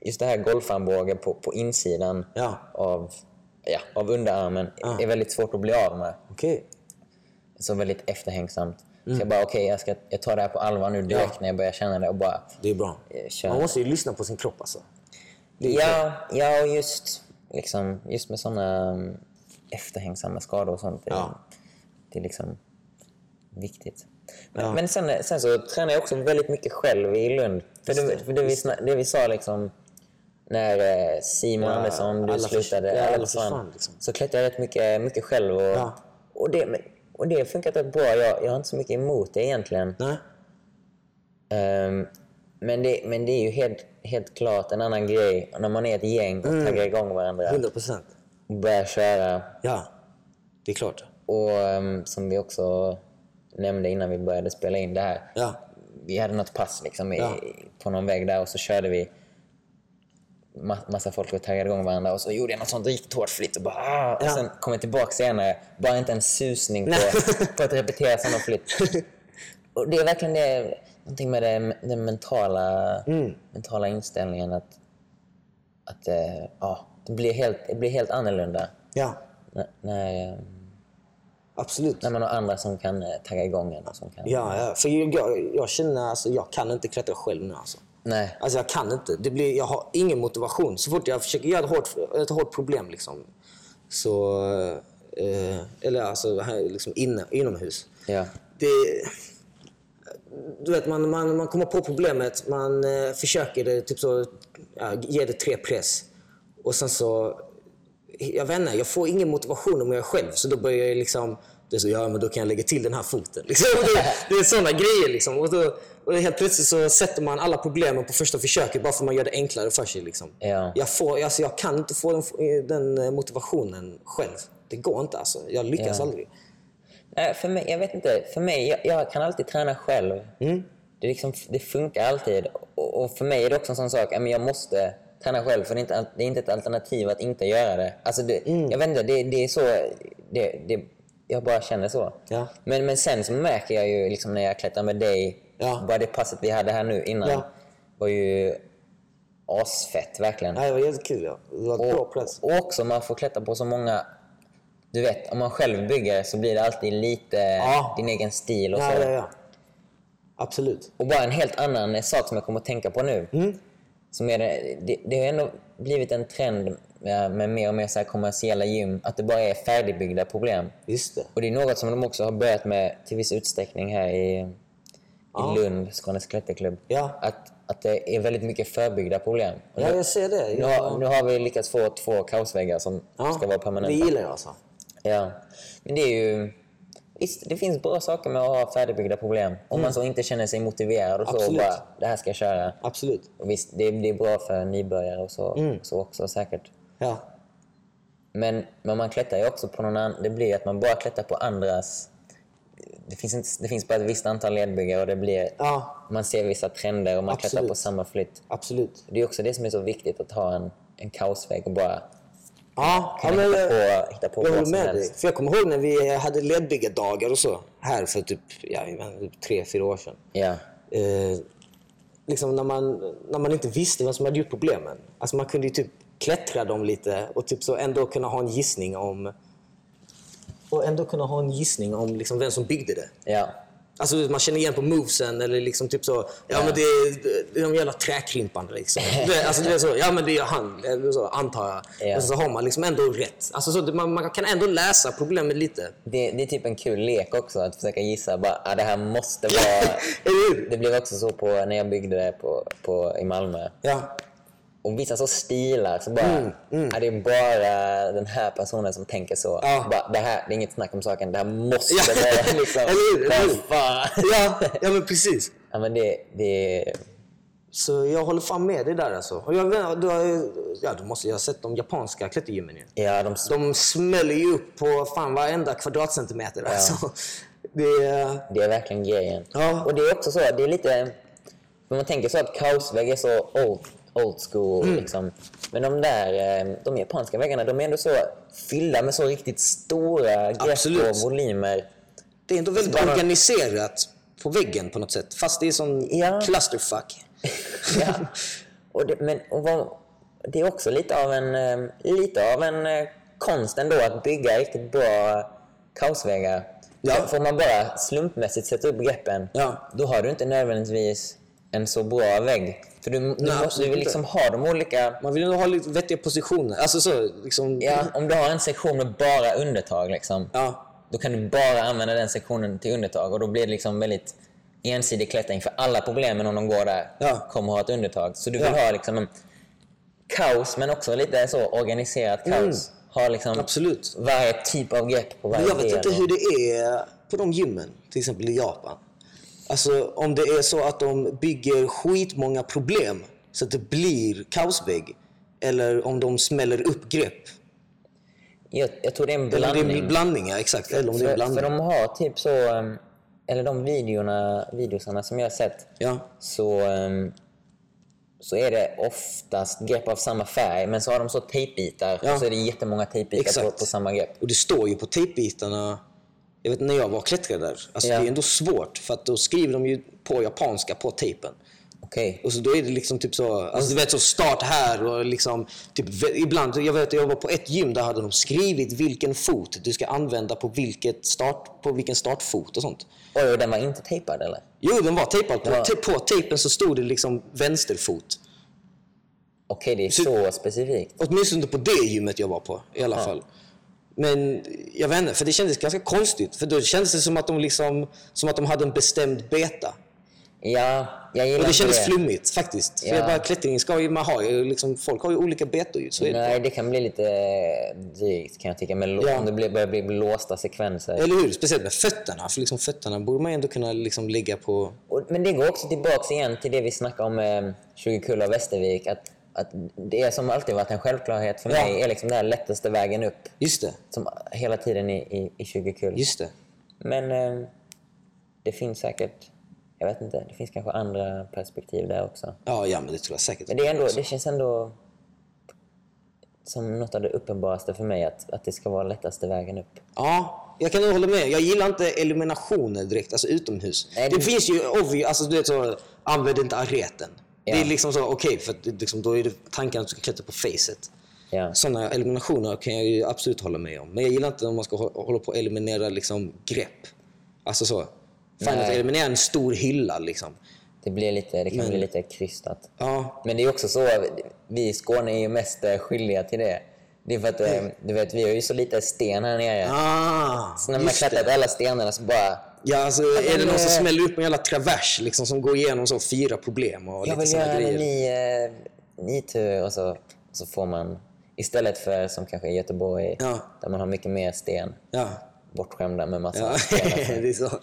S1: Just det här golfarmbågen på, på insidan
S2: Ja. Ah.
S1: av, ja, av underarmen
S2: Ja.
S1: är väldigt svårt att bli av med.
S2: Okej.
S1: Så väldigt efterhängsamt. Så jag bara, okej, jag, ska- jag tar det här på allvar nu direkt
S2: Mm. Ja.
S1: när jag börjar känna det och bara...
S2: Det är bra.
S1: Eh, kör.
S2: Man måste ju lyssna på sin kropp alltså.
S1: Ja, ja och just, liksom, just med såna mm, efterhängsamma skador och sånt. Det,
S2: Ja.
S1: det är liksom viktigt. Men, men sen, sen så tränade jag också väldigt mycket själv i Lund. För det, för det, vi, sna- det vi sa liksom när eh, Simon
S2: Ja,
S1: Andersson, du
S2: alla förs-
S1: slutade,
S2: ja, alla
S1: alla försvann,
S2: försvann, liksom.
S1: så klättrade jag rätt mycket, mycket själv. Och,
S2: Ja.
S1: och, det, men- och det har funkat rätt bra. Jag, jag har inte så mycket emot det egentligen.
S2: Nej.
S1: Ehm, men, det, men det är ju helt, helt klart en annan grej när man är ett gäng och
S2: Mm.
S1: taggar igång varandra
S2: 100 procent.
S1: och börjar köra.
S2: Ja. Det är klart.
S1: Och ehm, som vi också nämnde innan vi började spela in det här.
S2: Ja.
S1: Vi hade något pass liksom, i,
S2: Ja.
S1: på någon väg där och så körde vi ma- massa folk och taggade igång varandra och så gjorde jag något sånt riktigt hårt flytt och bara ah! och
S2: Ja.
S1: sen kom jag tillbaka senare, bara inte en susning på, [LAUGHS] på att repetera sådana
S2: [LAUGHS]
S1: flytt. Och det är verkligen det, någonting med det, den mentala,
S2: Mm.
S1: mentala inställningen att, att eh, ja, det, blir helt, det blir helt annorlunda
S2: Ja.
S1: när, när, eh,
S2: Absolut.
S1: när man har andra som kan eh, tagga igång en och som kan...
S2: Ja, ja. För jag, jag, jag känner alltså, jag kan inte klättra själv nu alltså.
S1: Nej.
S2: Alltså jag kan inte. Det blir, jag har ingen motivation. Så fort jag försöker göra ett hårt, ett hårt problem liksom. Så... Eh, eller alltså här, liksom inne, inomhus.
S1: Ja.
S2: det, du vet, man, man, man kommer på problemet, man eh, försöker det, typ så, ja, ge det tre press. Och sen så, jag vet inte, jag får ingen motivation om jag är själv. Så då börjar jag liksom, det är så, ja men då kan jag lägga till den här foten. Liksom. Det, det är sådana grejer liksom. Och, då, och helt plötsligt så sätter man alla problemen på första försöket bara för att man gör det enklare för sig. Liksom.
S1: Ja.
S2: Jag, får, alltså, jag kan inte få den, den motivationen själv. Det går inte alltså. Jag lyckas
S1: Ja.
S2: aldrig.
S1: Nej, för mig, jag vet inte. För mig, jag, jag kan alltid träna själv.
S2: Mm.
S1: Det, är liksom, det funkar alltid. Och, och för mig är det också en sån sak, ja, men jag måste träna själv för det är, inte, al- det är inte ett alternativ att inte göra det. Alltså det
S2: Mm.
S1: Jag vet inte, det, det är så... Det, det, jag bara känner så.
S2: Ja.
S1: Men, men sen så märker jag ju liksom när jag klättrar med dig,
S2: Ja.
S1: bara det passet vi hade här nu innan
S2: Ja.
S1: var ju asfett verkligen.
S2: Nej, det var jättekul. Ja. Det var ett bra
S1: Och,
S2: plats.
S1: och också man får klättra på så många... Du vet, om man själv bygger så blir det alltid lite
S2: Ja.
S1: din egen stil och
S2: Ja,
S1: så.
S2: ja, ja. Absolut.
S1: Och bara en helt annan sak som jag kommer att tänka på nu.
S2: Mm.
S1: Som är, det, det- det har ändå blivit en trend med, med mer och mer så här kommersiella gym, att det bara är färdigbyggda problem.
S2: Just det.
S1: Och det är något som de också har börjat med till viss utsträckning här i, i Lund, Skånes klätterklubb.
S2: Ja.
S1: Att, att det är väldigt mycket förbyggda problem. Och
S2: Ja,
S1: nu,
S2: jag ser det.
S1: nu, har, nu har vi lyckats få två kaosväggar som
S2: Ja.
S1: ska vara permanenta.
S2: Det gillar jag alltså.
S1: Ja, men det är ju... Visst, det finns bra saker med att ha färdigbyggda problem. Om man så inte känner sig motiverad och så och
S2: Mm. Absolut.
S1: bara, det här ska jag köra.
S2: Absolut.
S1: Och visst, det, det är bra för nybörjare och så,
S2: Mm.
S1: så också säkert.
S2: Ja.
S1: Men, men man klättrar ju också på någon annan... Det blir ju att man bara klättrar på andras... Det finns, inte, det finns bara ett visst antal ledbyggare och det blir...
S2: Ja,
S1: Man ser vissa trender och man klättrar
S2: Absolut.
S1: på samma flytt.
S2: absolut.
S1: Det är också det som är så viktigt att ha en, en kaosväg och bara
S2: Ja, ja
S1: kunna
S2: men
S1: hitta
S2: jag,
S1: på, hitta på
S2: jag
S1: vad
S2: håller
S1: som
S2: med dig.
S1: helst.
S2: För jag kommer ihåg när vi hade ledbyggardagar och så här för typ, ja, jag vet inte, tre, fyra år sedan.
S1: Ja,
S2: eh, liksom när, man, när man inte visste vem som hade gjort problemen. Alltså man kunde ju typ klättra dem lite och typ så ändå kunna ha en gissning om och ändå kunna ha en gissning om liksom vem som byggde det.
S1: ja.
S2: Alltså man känner igen på movesen eller liksom typ så. Ja men det är, det är de jävla träkrimparna liksom. [LAUGHS] Det, alltså det är så. Ja men det är han. Eller så, antar jag.
S1: Ja.
S2: Och så har man liksom ändå rätt. Alltså så, det- man, man kan ändå läsa problemet lite.
S1: Det, det är typ en kul lek också, att försöka gissa. Bara, ah, det här måste
S2: [LAUGHS]
S1: vara...
S2: Eller hur?
S1: det blev också så på, när jag byggde det på, på, i Malmö.
S2: Ja.
S1: Och vissa så stilar, så bara...
S2: Mm,
S1: Ah, det är bara den här personen som tänker så.
S2: Ja.
S1: Bara, det, här, det är inget snack om saken, det här måste
S2: Ja.
S1: vara [LAUGHS] liksom...
S2: Eller hur? Eller hur?
S1: Vad fan?
S2: Ja, ja men precis.
S1: ja, men det, det är...
S2: Så jag håller fan med dig där alltså. Och jag, vet- du, har- ja, du måste ju ha sett de japanska klättergymmen ju.
S1: Ja, de,
S2: De smäller ju upp på fan varenda kvadratcentimeter. Alltså. Det är...
S1: det är verkligen grejen.
S2: Ja.
S1: Och det är också så, det är lite... För man tänker så att kaosvägg är så old, old school.
S2: Mm.
S1: Liksom. Men de där eh, de japanska väggarna, de är ändå så fyllda med så riktigt stora grepp
S2: Absolut.
S1: och volymer.
S2: det är ändå väldigt
S1: Bara-
S2: organiserat på väggen på något sätt. Fast det är sån
S1: Ja.
S2: clusterfuck. [LAUGHS]
S1: Ja. och det, men, och vad, det är också lite av en, eh, lite av en eh, konst ändå att bygga riktigt bra kaosväggar.
S2: Ja.
S1: För- Får man bara slumpmässigt sätta upp greppen,
S2: Ja.
S1: då har du inte nödvändigtvis en så bra vägg. För du, du,
S2: Nej,
S1: måste, du
S2: absolut
S1: vill liksom ha de olika...
S2: Man vill ju ha lite vettiga positioner. Alltså så, liksom...
S1: Ja, om du har en sektion med bara undertag, liksom,
S2: Ja.
S1: då kan du bara använda den sektionen till undertag och då blir det liksom väldigt ensidig klättring för alla problemen om de går där
S2: Ja.
S1: kommer att ha ett undertag. Så du vill
S2: Ja.
S1: ha liksom en kaos, men också lite så organiserat kaos. Ha liksom
S2: Absolut.
S1: varje typ av grepp på varje
S2: Men Mm. jag vet
S1: del.
S2: inte hur det är på de gymmen, till exempel i Japan. Alltså om det är så att de bygger skitmånga problem så att det blir kaosvägg. Eller om de smäller upp grepp.
S1: jag, jag tror det är en
S2: Eller om
S1: blandning.
S2: det är blandningar, exakt. Eller om det är en
S1: för, för
S2: blandning.
S1: de har typ så, ehm, eller de videorna, videosarna som jag har sett,
S2: Ja.
S1: så, ehm, så är det oftast grepp av samma färg, men så har de så tejpbitar
S2: Ja.
S1: och så är det jättemånga tejpbitar
S2: Exakt.
S1: på, på samma grepp.
S2: Och det står ju på tejpbitarna. Jag vet när jag var klättrare där. Alltså
S1: Ja.
S2: det är ändå svårt för att då skriver de ju på japanska på tejpen.
S1: Okej.
S2: Och så då är det liksom typ så, alltså du vet så start här och liksom, typ, vä- ibland, jag vet jag var på ett gym där hade de skrivit vilken fot du ska använda på, vilket start, på vilken startfot och sånt.
S1: Oj, och den var inte tejpad eller?
S2: Jo, den var tejpad. På,
S1: Ja.
S2: te- på tejpen så stod det liksom vänsterfot.
S1: Okej, det är så, specifikt.
S2: Åtminstone på det gymmet jag var på i alla fall. Men jag vet inte, för det kändes ganska konstigt. För då kändes det som att de, liksom, som att de hade en bestämd beta.
S1: Ja, jag gillar
S2: Och det
S1: inte
S2: kändes
S1: det.
S2: flummigt faktiskt. För
S1: Ja.
S2: jag bara, klättringen ska ju, man har ju liksom, folk har ju olika betor ju. Så är det.
S1: Nej, det kan bli lite drygt kan jag tycka, men
S2: Ja.
S1: om det blir- börjar bli låsta sekvenser.
S2: Eller hur? Speciellt med fötterna. För liksom fötterna borde man ju ändå kunna liksom ligga på...
S1: Och, men det går också tillbaks igen till det vi snackade om eh, 20 kullar Västervik. Att, att det som alltid varit en självklarhet för
S2: Ja.
S1: mig är liksom den här lättaste vägen upp.
S2: Just det.
S1: Som hela tiden i, i, i 20 kull.
S2: Just det.
S1: Men eh, det finns säkert, jag vet inte, det finns kanske andra perspektiv där också.
S2: Ja, ja, men det tror jag säkert.
S1: Men det, är ändå, det känns ändå som något av det uppenbaraste för mig att, att det ska vara lättaste vägen upp.
S2: Ja, jag kan nog hålla med. Jag gillar inte illuminationer direkt, alltså utomhus.
S1: Nej,
S2: det
S1: det-
S2: finns ju obvious, alltså du vet så, använd inte areten. Det är liksom så, okej, för att det- liksom, då är det tanken att du ska klättra på facet.
S1: Ja.
S2: Sådana eliminationer kan jag ju absolut hålla med om. Men jag gillar inte när man ska hå- hålla på och eliminera liksom, grepp. Alltså så.
S3: Nej.
S2: Final Fantasy, men det är en stor hylla liksom.
S1: Det, blir lite, det kan
S2: Men-
S1: bli lite krystat.
S2: Ja,
S1: Men det är också så, vi i Skåne är ju mest eh, skyldiga till det. Det är för att eh, du vet, vi har ju så lite sten här nere.
S2: ah,
S1: så när man har
S2: just det.
S1: klättrat alla stenarna så bara...
S2: Ja, alltså, är det någon som
S1: eh,
S2: smäller upp en jävla travers liksom, som går igenom så fyra problem och
S1: Jag
S2: lite
S1: vill
S2: såna
S1: göra en
S2: grejer?
S1: ny, eh, ny tur och så, så får man... Istället för som kanske i Göteborg,
S2: Ja.
S1: där man har mycket mer sten,
S2: Ja,
S1: bortskämda med massa [LAUGHS]
S2: ja.
S1: stenar,
S2: det är så.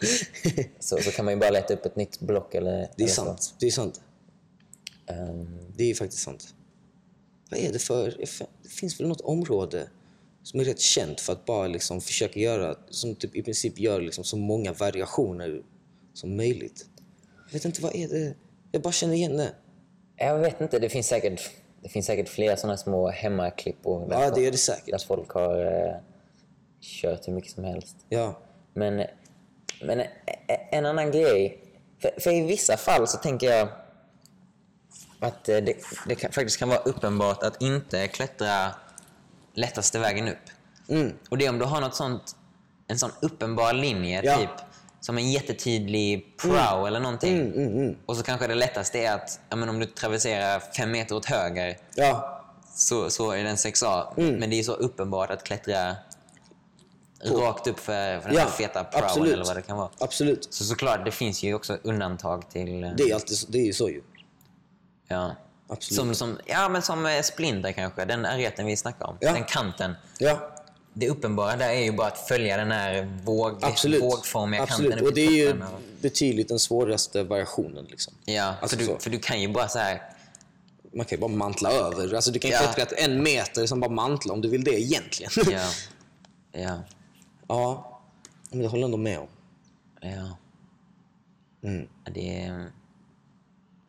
S1: så, så kan man ju bara leta upp ett nytt block eller...
S2: Det är
S1: eller så.
S2: sant. Det är sant.
S1: Ehm,
S2: Det är ju faktiskt sant. Vad är det för... Det finns väl något område som är rätt känt för att bara liksom försöka göra... Som typ i princip gör liksom så många variationer som möjligt. Jag vet inte, vad är det? Jag bara känner igen det.
S1: jag vet inte, det finns säkert, det finns säkert flera sådana små hemmaklippor där,
S2: Ja, det är det
S1: där
S2: säkert.
S1: folk har eh, kört hur mycket som helst.
S2: Ja.
S1: Men, men en annan grej. För, för i vissa fall så tänker jag att eh, det, det kan, faktiskt kan vara uppenbart att inte klättra lättaste vägen upp.
S2: Mm,
S1: Och det är om du har något sånt, en sån uppenbar linje,
S2: Ja.
S1: typ som en jättetydlig prow eller någonting. Och så kanske det lättaste är att ja, men om du traverserar fem meter åt höger
S2: Ja.
S1: så, så är den 6A.
S2: Mm.
S1: Men det är så uppenbart att klättra rakt upp för, för den
S2: Ja,
S1: här feta prowen
S2: absolut.
S1: eller vad det kan vara.
S2: Absolut.
S1: Så såklart, det finns ju också undantag till... eh,
S2: Det är, ju alltid, så- det är ju så ju.
S1: Ja.
S2: Absolut.
S1: Som, som, ja, men som eh, Splinter kanske, den areten vi snackar om.
S2: Ja.
S1: Den kanten.
S2: Ja,
S1: Det uppenbara där är ju bara att följa den här våg,
S2: absolut.
S1: vågformiga
S2: Absolut.
S1: kanten
S2: Och
S1: upp
S2: det
S1: till
S2: är ju
S1: toppen och-
S2: betydligt den svåraste variationen. Liksom.
S1: Ja,
S2: Alltså
S1: för,
S2: så.
S1: du, för du kan ju bara så
S2: [LAUGHS]
S1: här...
S2: Man kan ju bara mantla över. Alltså, du kan ju
S1: Ja.
S2: klättra ett en meter som bara mantla om du vill det egentligen.
S1: Ja, ja,
S2: [LAUGHS] Ja, men det håller jag ändå med om.
S1: ja.
S2: Mm.
S1: Det är,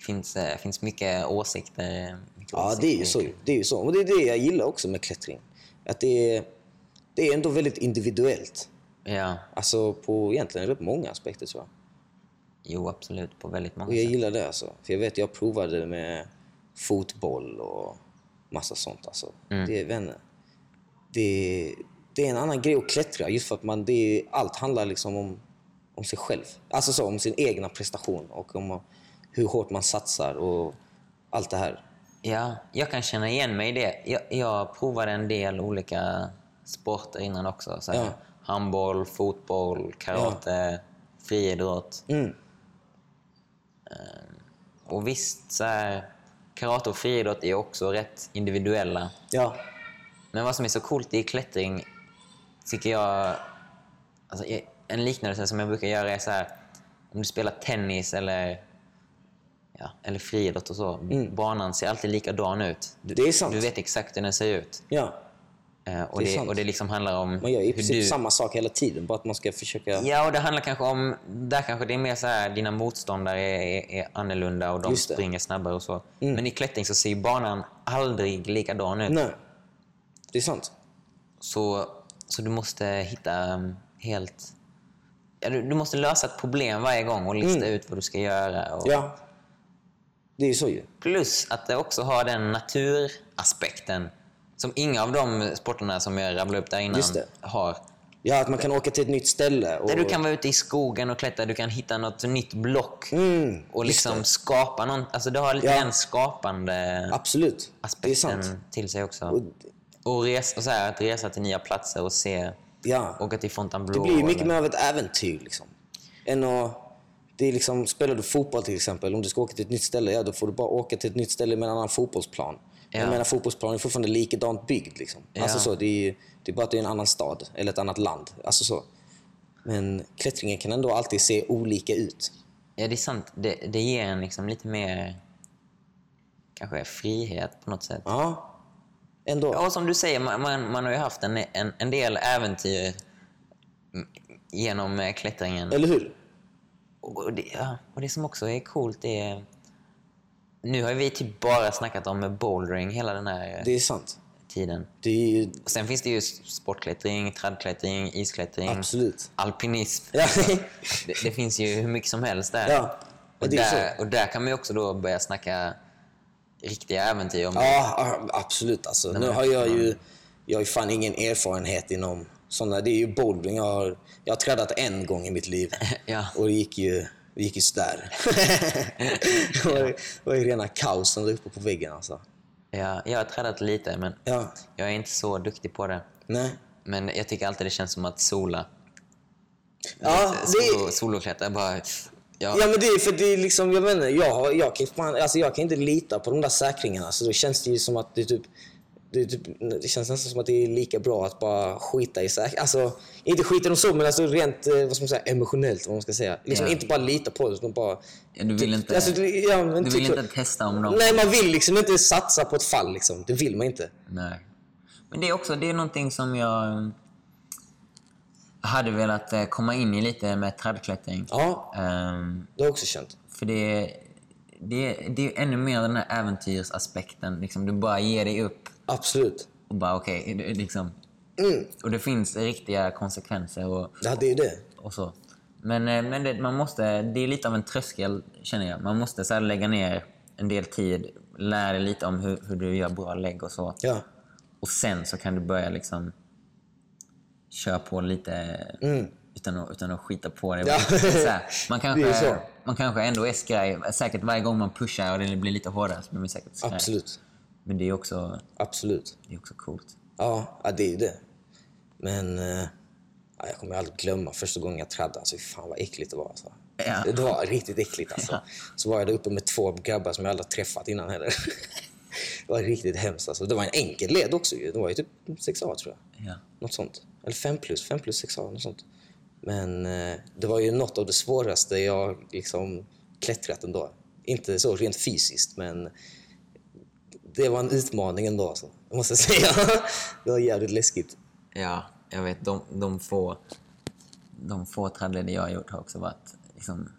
S1: finns, eh, finns mycket åsikter. Mycket
S2: Ja,
S1: åsikter.
S2: det är ju så. ju. Alltså, Det är ju så. Och det är det jag gillar också med klättring. Att det är, det är ändå väldigt individuellt.
S1: Ja,
S2: Alltså på egentligen rätt många aspekter tror jag.
S1: jo absolut. På väldigt många
S2: Och jag
S1: sätt.
S2: gillar det alltså. För jag vet, jag provade med fotboll och massa sånt alltså.
S1: Mm.
S2: Det är vänner. Det, det är en annan grej att klättra just för att man, det är, allt handlar liksom om, om sig själv. Alltså så, om sin egna prestation och om hur hårt man satsar och allt det här.
S1: Ja, jag kan känna igen mig i det. Jag, jag provade en del olika sporter innan också. Så här,
S2: Ja.
S1: Handboll, fotboll, karate, friidrott.
S2: Mm.
S1: Och visst, så här, karate och friidrott är också rätt individuella.
S2: Ja.
S1: Men vad som är så coolt i klättring tycker jag... Alltså, jag- en liknelse som jag brukar göra är så här, om du spelar tennis eller, ja, eller friidrott och så.
S2: Mm.
S1: Banan ser alltid likadan ut. Du,
S2: Det är sant.
S1: du vet exakt hur den ser ut.
S2: ja.
S1: Eh, och,
S2: Det är
S1: det,
S2: sant.
S1: och det liksom handlar om
S2: Man gör i
S1: hur
S2: princip
S1: du...
S2: samma sak hela tiden, bara att man ska försöka...
S1: Ja, och det handlar kanske om... Där kanske det är mer så här, dina motståndare är, är, är annorlunda och de
S2: Just det. Mm.
S1: springer snabbare och så. Men i klättring så ser ju banan aldrig likadan ut.
S2: Nej. Det är sant.
S1: Så, så du måste hitta um, helt... Ja, du, du måste lösa ett problem varje gång och lista ut vad du ska göra. Och
S2: Mm. Ja. Det är ju så ju.
S1: Plus att det också har den naturaspekten som inga av de sporterna som jag rabblade upp där innan
S2: Just det.
S1: har.
S2: Ja, att man kan åka till ett nytt ställe. Och...
S1: Där du kan vara ute i skogen och klättra, du kan hitta något nytt block
S2: Mm,
S1: och liksom skapa någon, alltså Det har lite
S2: Ja.
S1: den skapande
S2: Absolut. Det är sant.
S1: aspekten till sig också. Och, res, och så här, att resa till nya platser och se,
S2: Ja.
S1: åka till Fontainebleau.
S2: Det blir ju
S1: eller-
S2: mycket mer av ett äventyr. Liksom. Än att, det är liksom, spelar du fotboll till exempel, om du ska åka till ett nytt ställe, ja, då får du bara åka till ett nytt ställe med en annan fotbollsplan. Jag menar, fotbollsplanen är fortfarande likadant byggd. Liksom. Alltså så, det, är ju, det är bara att det är en annan stad eller ett annat land. Alltså så. Men klättringen kan ändå alltid se olika ut.
S1: Ja, det är sant. Det, det ger en liksom lite mer kanske frihet på något sätt.
S2: Ja, ändå.
S1: Ja, och som du säger, man, man, man har ju haft en, en, en del äventyr mm, genom eh, klättringen.
S2: Eller hur?
S1: Och och det, ja, och det som också är coolt är... Nu har vi typ bara snackat om eh, bouldering hela den här eh,
S2: Det är sant.
S1: tiden.
S2: Det är ju
S1: Och sen finns det ju sportklättring, trädklättring, isklättring,
S2: absolut...
S1: alpinism.
S2: Ja.
S1: Det, det finns ju hur mycket som helst där.
S2: [LAUGHS] ja.
S1: Mm. Och
S2: Det är så.
S1: där, och där kan man ju också då börja snacka riktiga äventyr. Om
S2: Ja, a- absolut. Alltså. Nu har jag ju jag har ju fan ingen erfarenhet inom sådana. Det är ju bouldering. Jag har, jag har trädat en gång i mitt liv.
S1: Ja.
S2: Och det gick ju, det gick ju sådär. [LAUGHS] det, var, det var ju rena kaosen där uppe på väggen alltså.
S1: Ja, jag har trädat lite, men
S2: Ja,
S1: jag är inte så duktig på det.
S2: nej.
S1: Men jag tycker alltid det känns som att sola.
S2: Ja, det,
S1: Solo, soloklättra bara... Ja,
S2: Ja men det är för det är liksom, jag menar, jag, har- jag, kan, fan, alltså, jag kan inte lita på de där säkringarna. Så då känns det ju som att det är typ, det, är typ, det känns nästan som att det är lika bra att bara skita i säkringar. Alltså, inte skita i dem så, men alltså rent eh, vad ska man säga, emotionellt, vad man ska säga. Liksom
S1: Ja.
S2: inte bara lita på det, utan bara...
S1: du vill inte,
S2: alltså, det- ja, men
S1: du
S2: typ
S1: vill
S2: så-
S1: inte testa om dem.
S2: Nej, man vill liksom inte satsa på ett fall liksom. Det vill man inte.
S1: Nej. Men det är också det är någonting som jag mm, hade velat eh, komma in i lite med trädklättring.
S2: Ja,
S1: Ehm,
S2: det har jag också känt.
S1: för det, det, det är ju ännu mer den här äventyrsaspekten. Liksom, du bara ger dig upp
S2: Absolut.
S1: och bara okej. det- liksom.
S2: Mm,
S1: Och det finns riktiga konsekvenser och,
S2: ja, det är det.
S1: och så. Men, eh, men det, man måste, det är lite av en tröskel känner jag. Man måste så här lägga ner en del tid, lära dig lite om hur, hur du gör bra lägg och så.
S2: Ja.
S1: Och sen så kan du börja liksom köra på lite utan, att, utan att skita på det.
S2: Mm. Ja.
S1: Så här, man,
S2: [LAUGHS] Det
S1: kanske,
S2: är så.
S1: man kanske ändå är skraj. Säkert varje gång man pushar och det blir lite hårdare så blir man säkert skraj.
S2: Absolut.
S1: Men det är också,
S2: Absolut.
S1: det är också coolt.
S2: Ja, ja det är ju det. Men eh, ja, jag kommer aldrig glömma första gången jag trädde. Alltså, fy fan vad äckligt det var. Alltså.
S1: Ja.
S2: Det var riktigt äckligt. Alltså. Så var jag där uppe med två grabbar som jag aldrig träffat innan heller. [LAUGHS] det var riktigt hemskt. Alltså. Det var en enkel led också. ju. Det var ju typ 6A tror jag.
S1: Ja.
S2: Något sånt. Eller 5 plus, 5 plus 6A, något sånt. Men eh, det var ju något av det svåraste jag liksom klättrat ändå. Inte så rent fysiskt, men det var en utmaning ändå, alltså. Jag måste jag säga. [LAUGHS] det var jävligt läskigt.
S1: ja, jag vet. De, de få, de få trädleder jag har gjort har också varit liksom,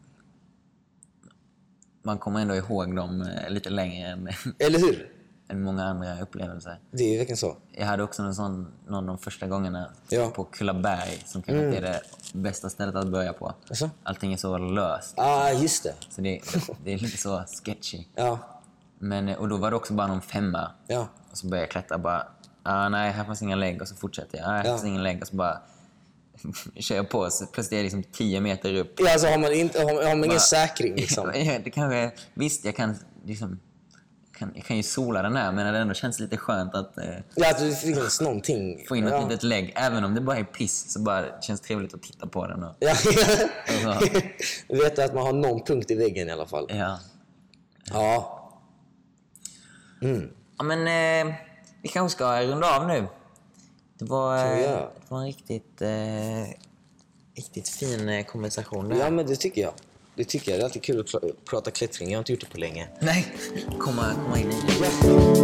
S1: man kommer ändå ihåg dem eh, lite längre än, [LAUGHS]
S2: Eller hur?
S1: än många andra upplevelser.
S2: Det är ju verkligen så.
S1: Jag hade också en sån, någon av de första gångerna
S2: Ja.
S1: på Kullaberg som kanske inte är det bästa stället att börja på.
S2: Jaså?
S1: Allting är så löst,
S2: Ja, Alltså? ah, just det.
S1: så det, det är lite så sketchy.
S2: Ja,
S1: Men, eh, och då var det också bara någon femma.
S2: ja,
S1: Och så började jag klättra bara, ah, nej här fanns inga lägg och så fortsätter jag, ah, här
S2: Ja.
S1: fanns inga lägg och så bara [LAUGHS] kör jag på. Så plötsligt är jag liksom 10 meter upp.
S2: ja. Alltså har man, inte, har, har man ingen
S1: Bara-
S2: säkring
S1: [LAUGHS]
S2: liksom.
S1: det kanske, visst, jag kan liksom kan, jag kan ju sola den här men det ändå känns lite skönt att eh,
S2: Ja, att det finns någonting.
S1: få in något
S2: ja.
S1: litet lägg. Även om det bara är piss så bara känns trevligt att titta på den. Och,
S2: Ja. [LAUGHS]
S1: Alltså.
S2: Veta att man har någon punkt i väggen i alla fall.
S1: ja.
S2: Ja,
S1: ja, men eh, vi kanske ska runda av nu. Det var, eh,
S2: Kan vi göra?
S1: det var en riktigt, eh, riktigt fin eh, konversation där.
S2: Ja, men det tycker jag. Det tycker jag. Det är alltid kul att pra- prata klättring. Jag har inte gjort det på länge.
S1: Nej, komma, komma in i det.
S2: Ja.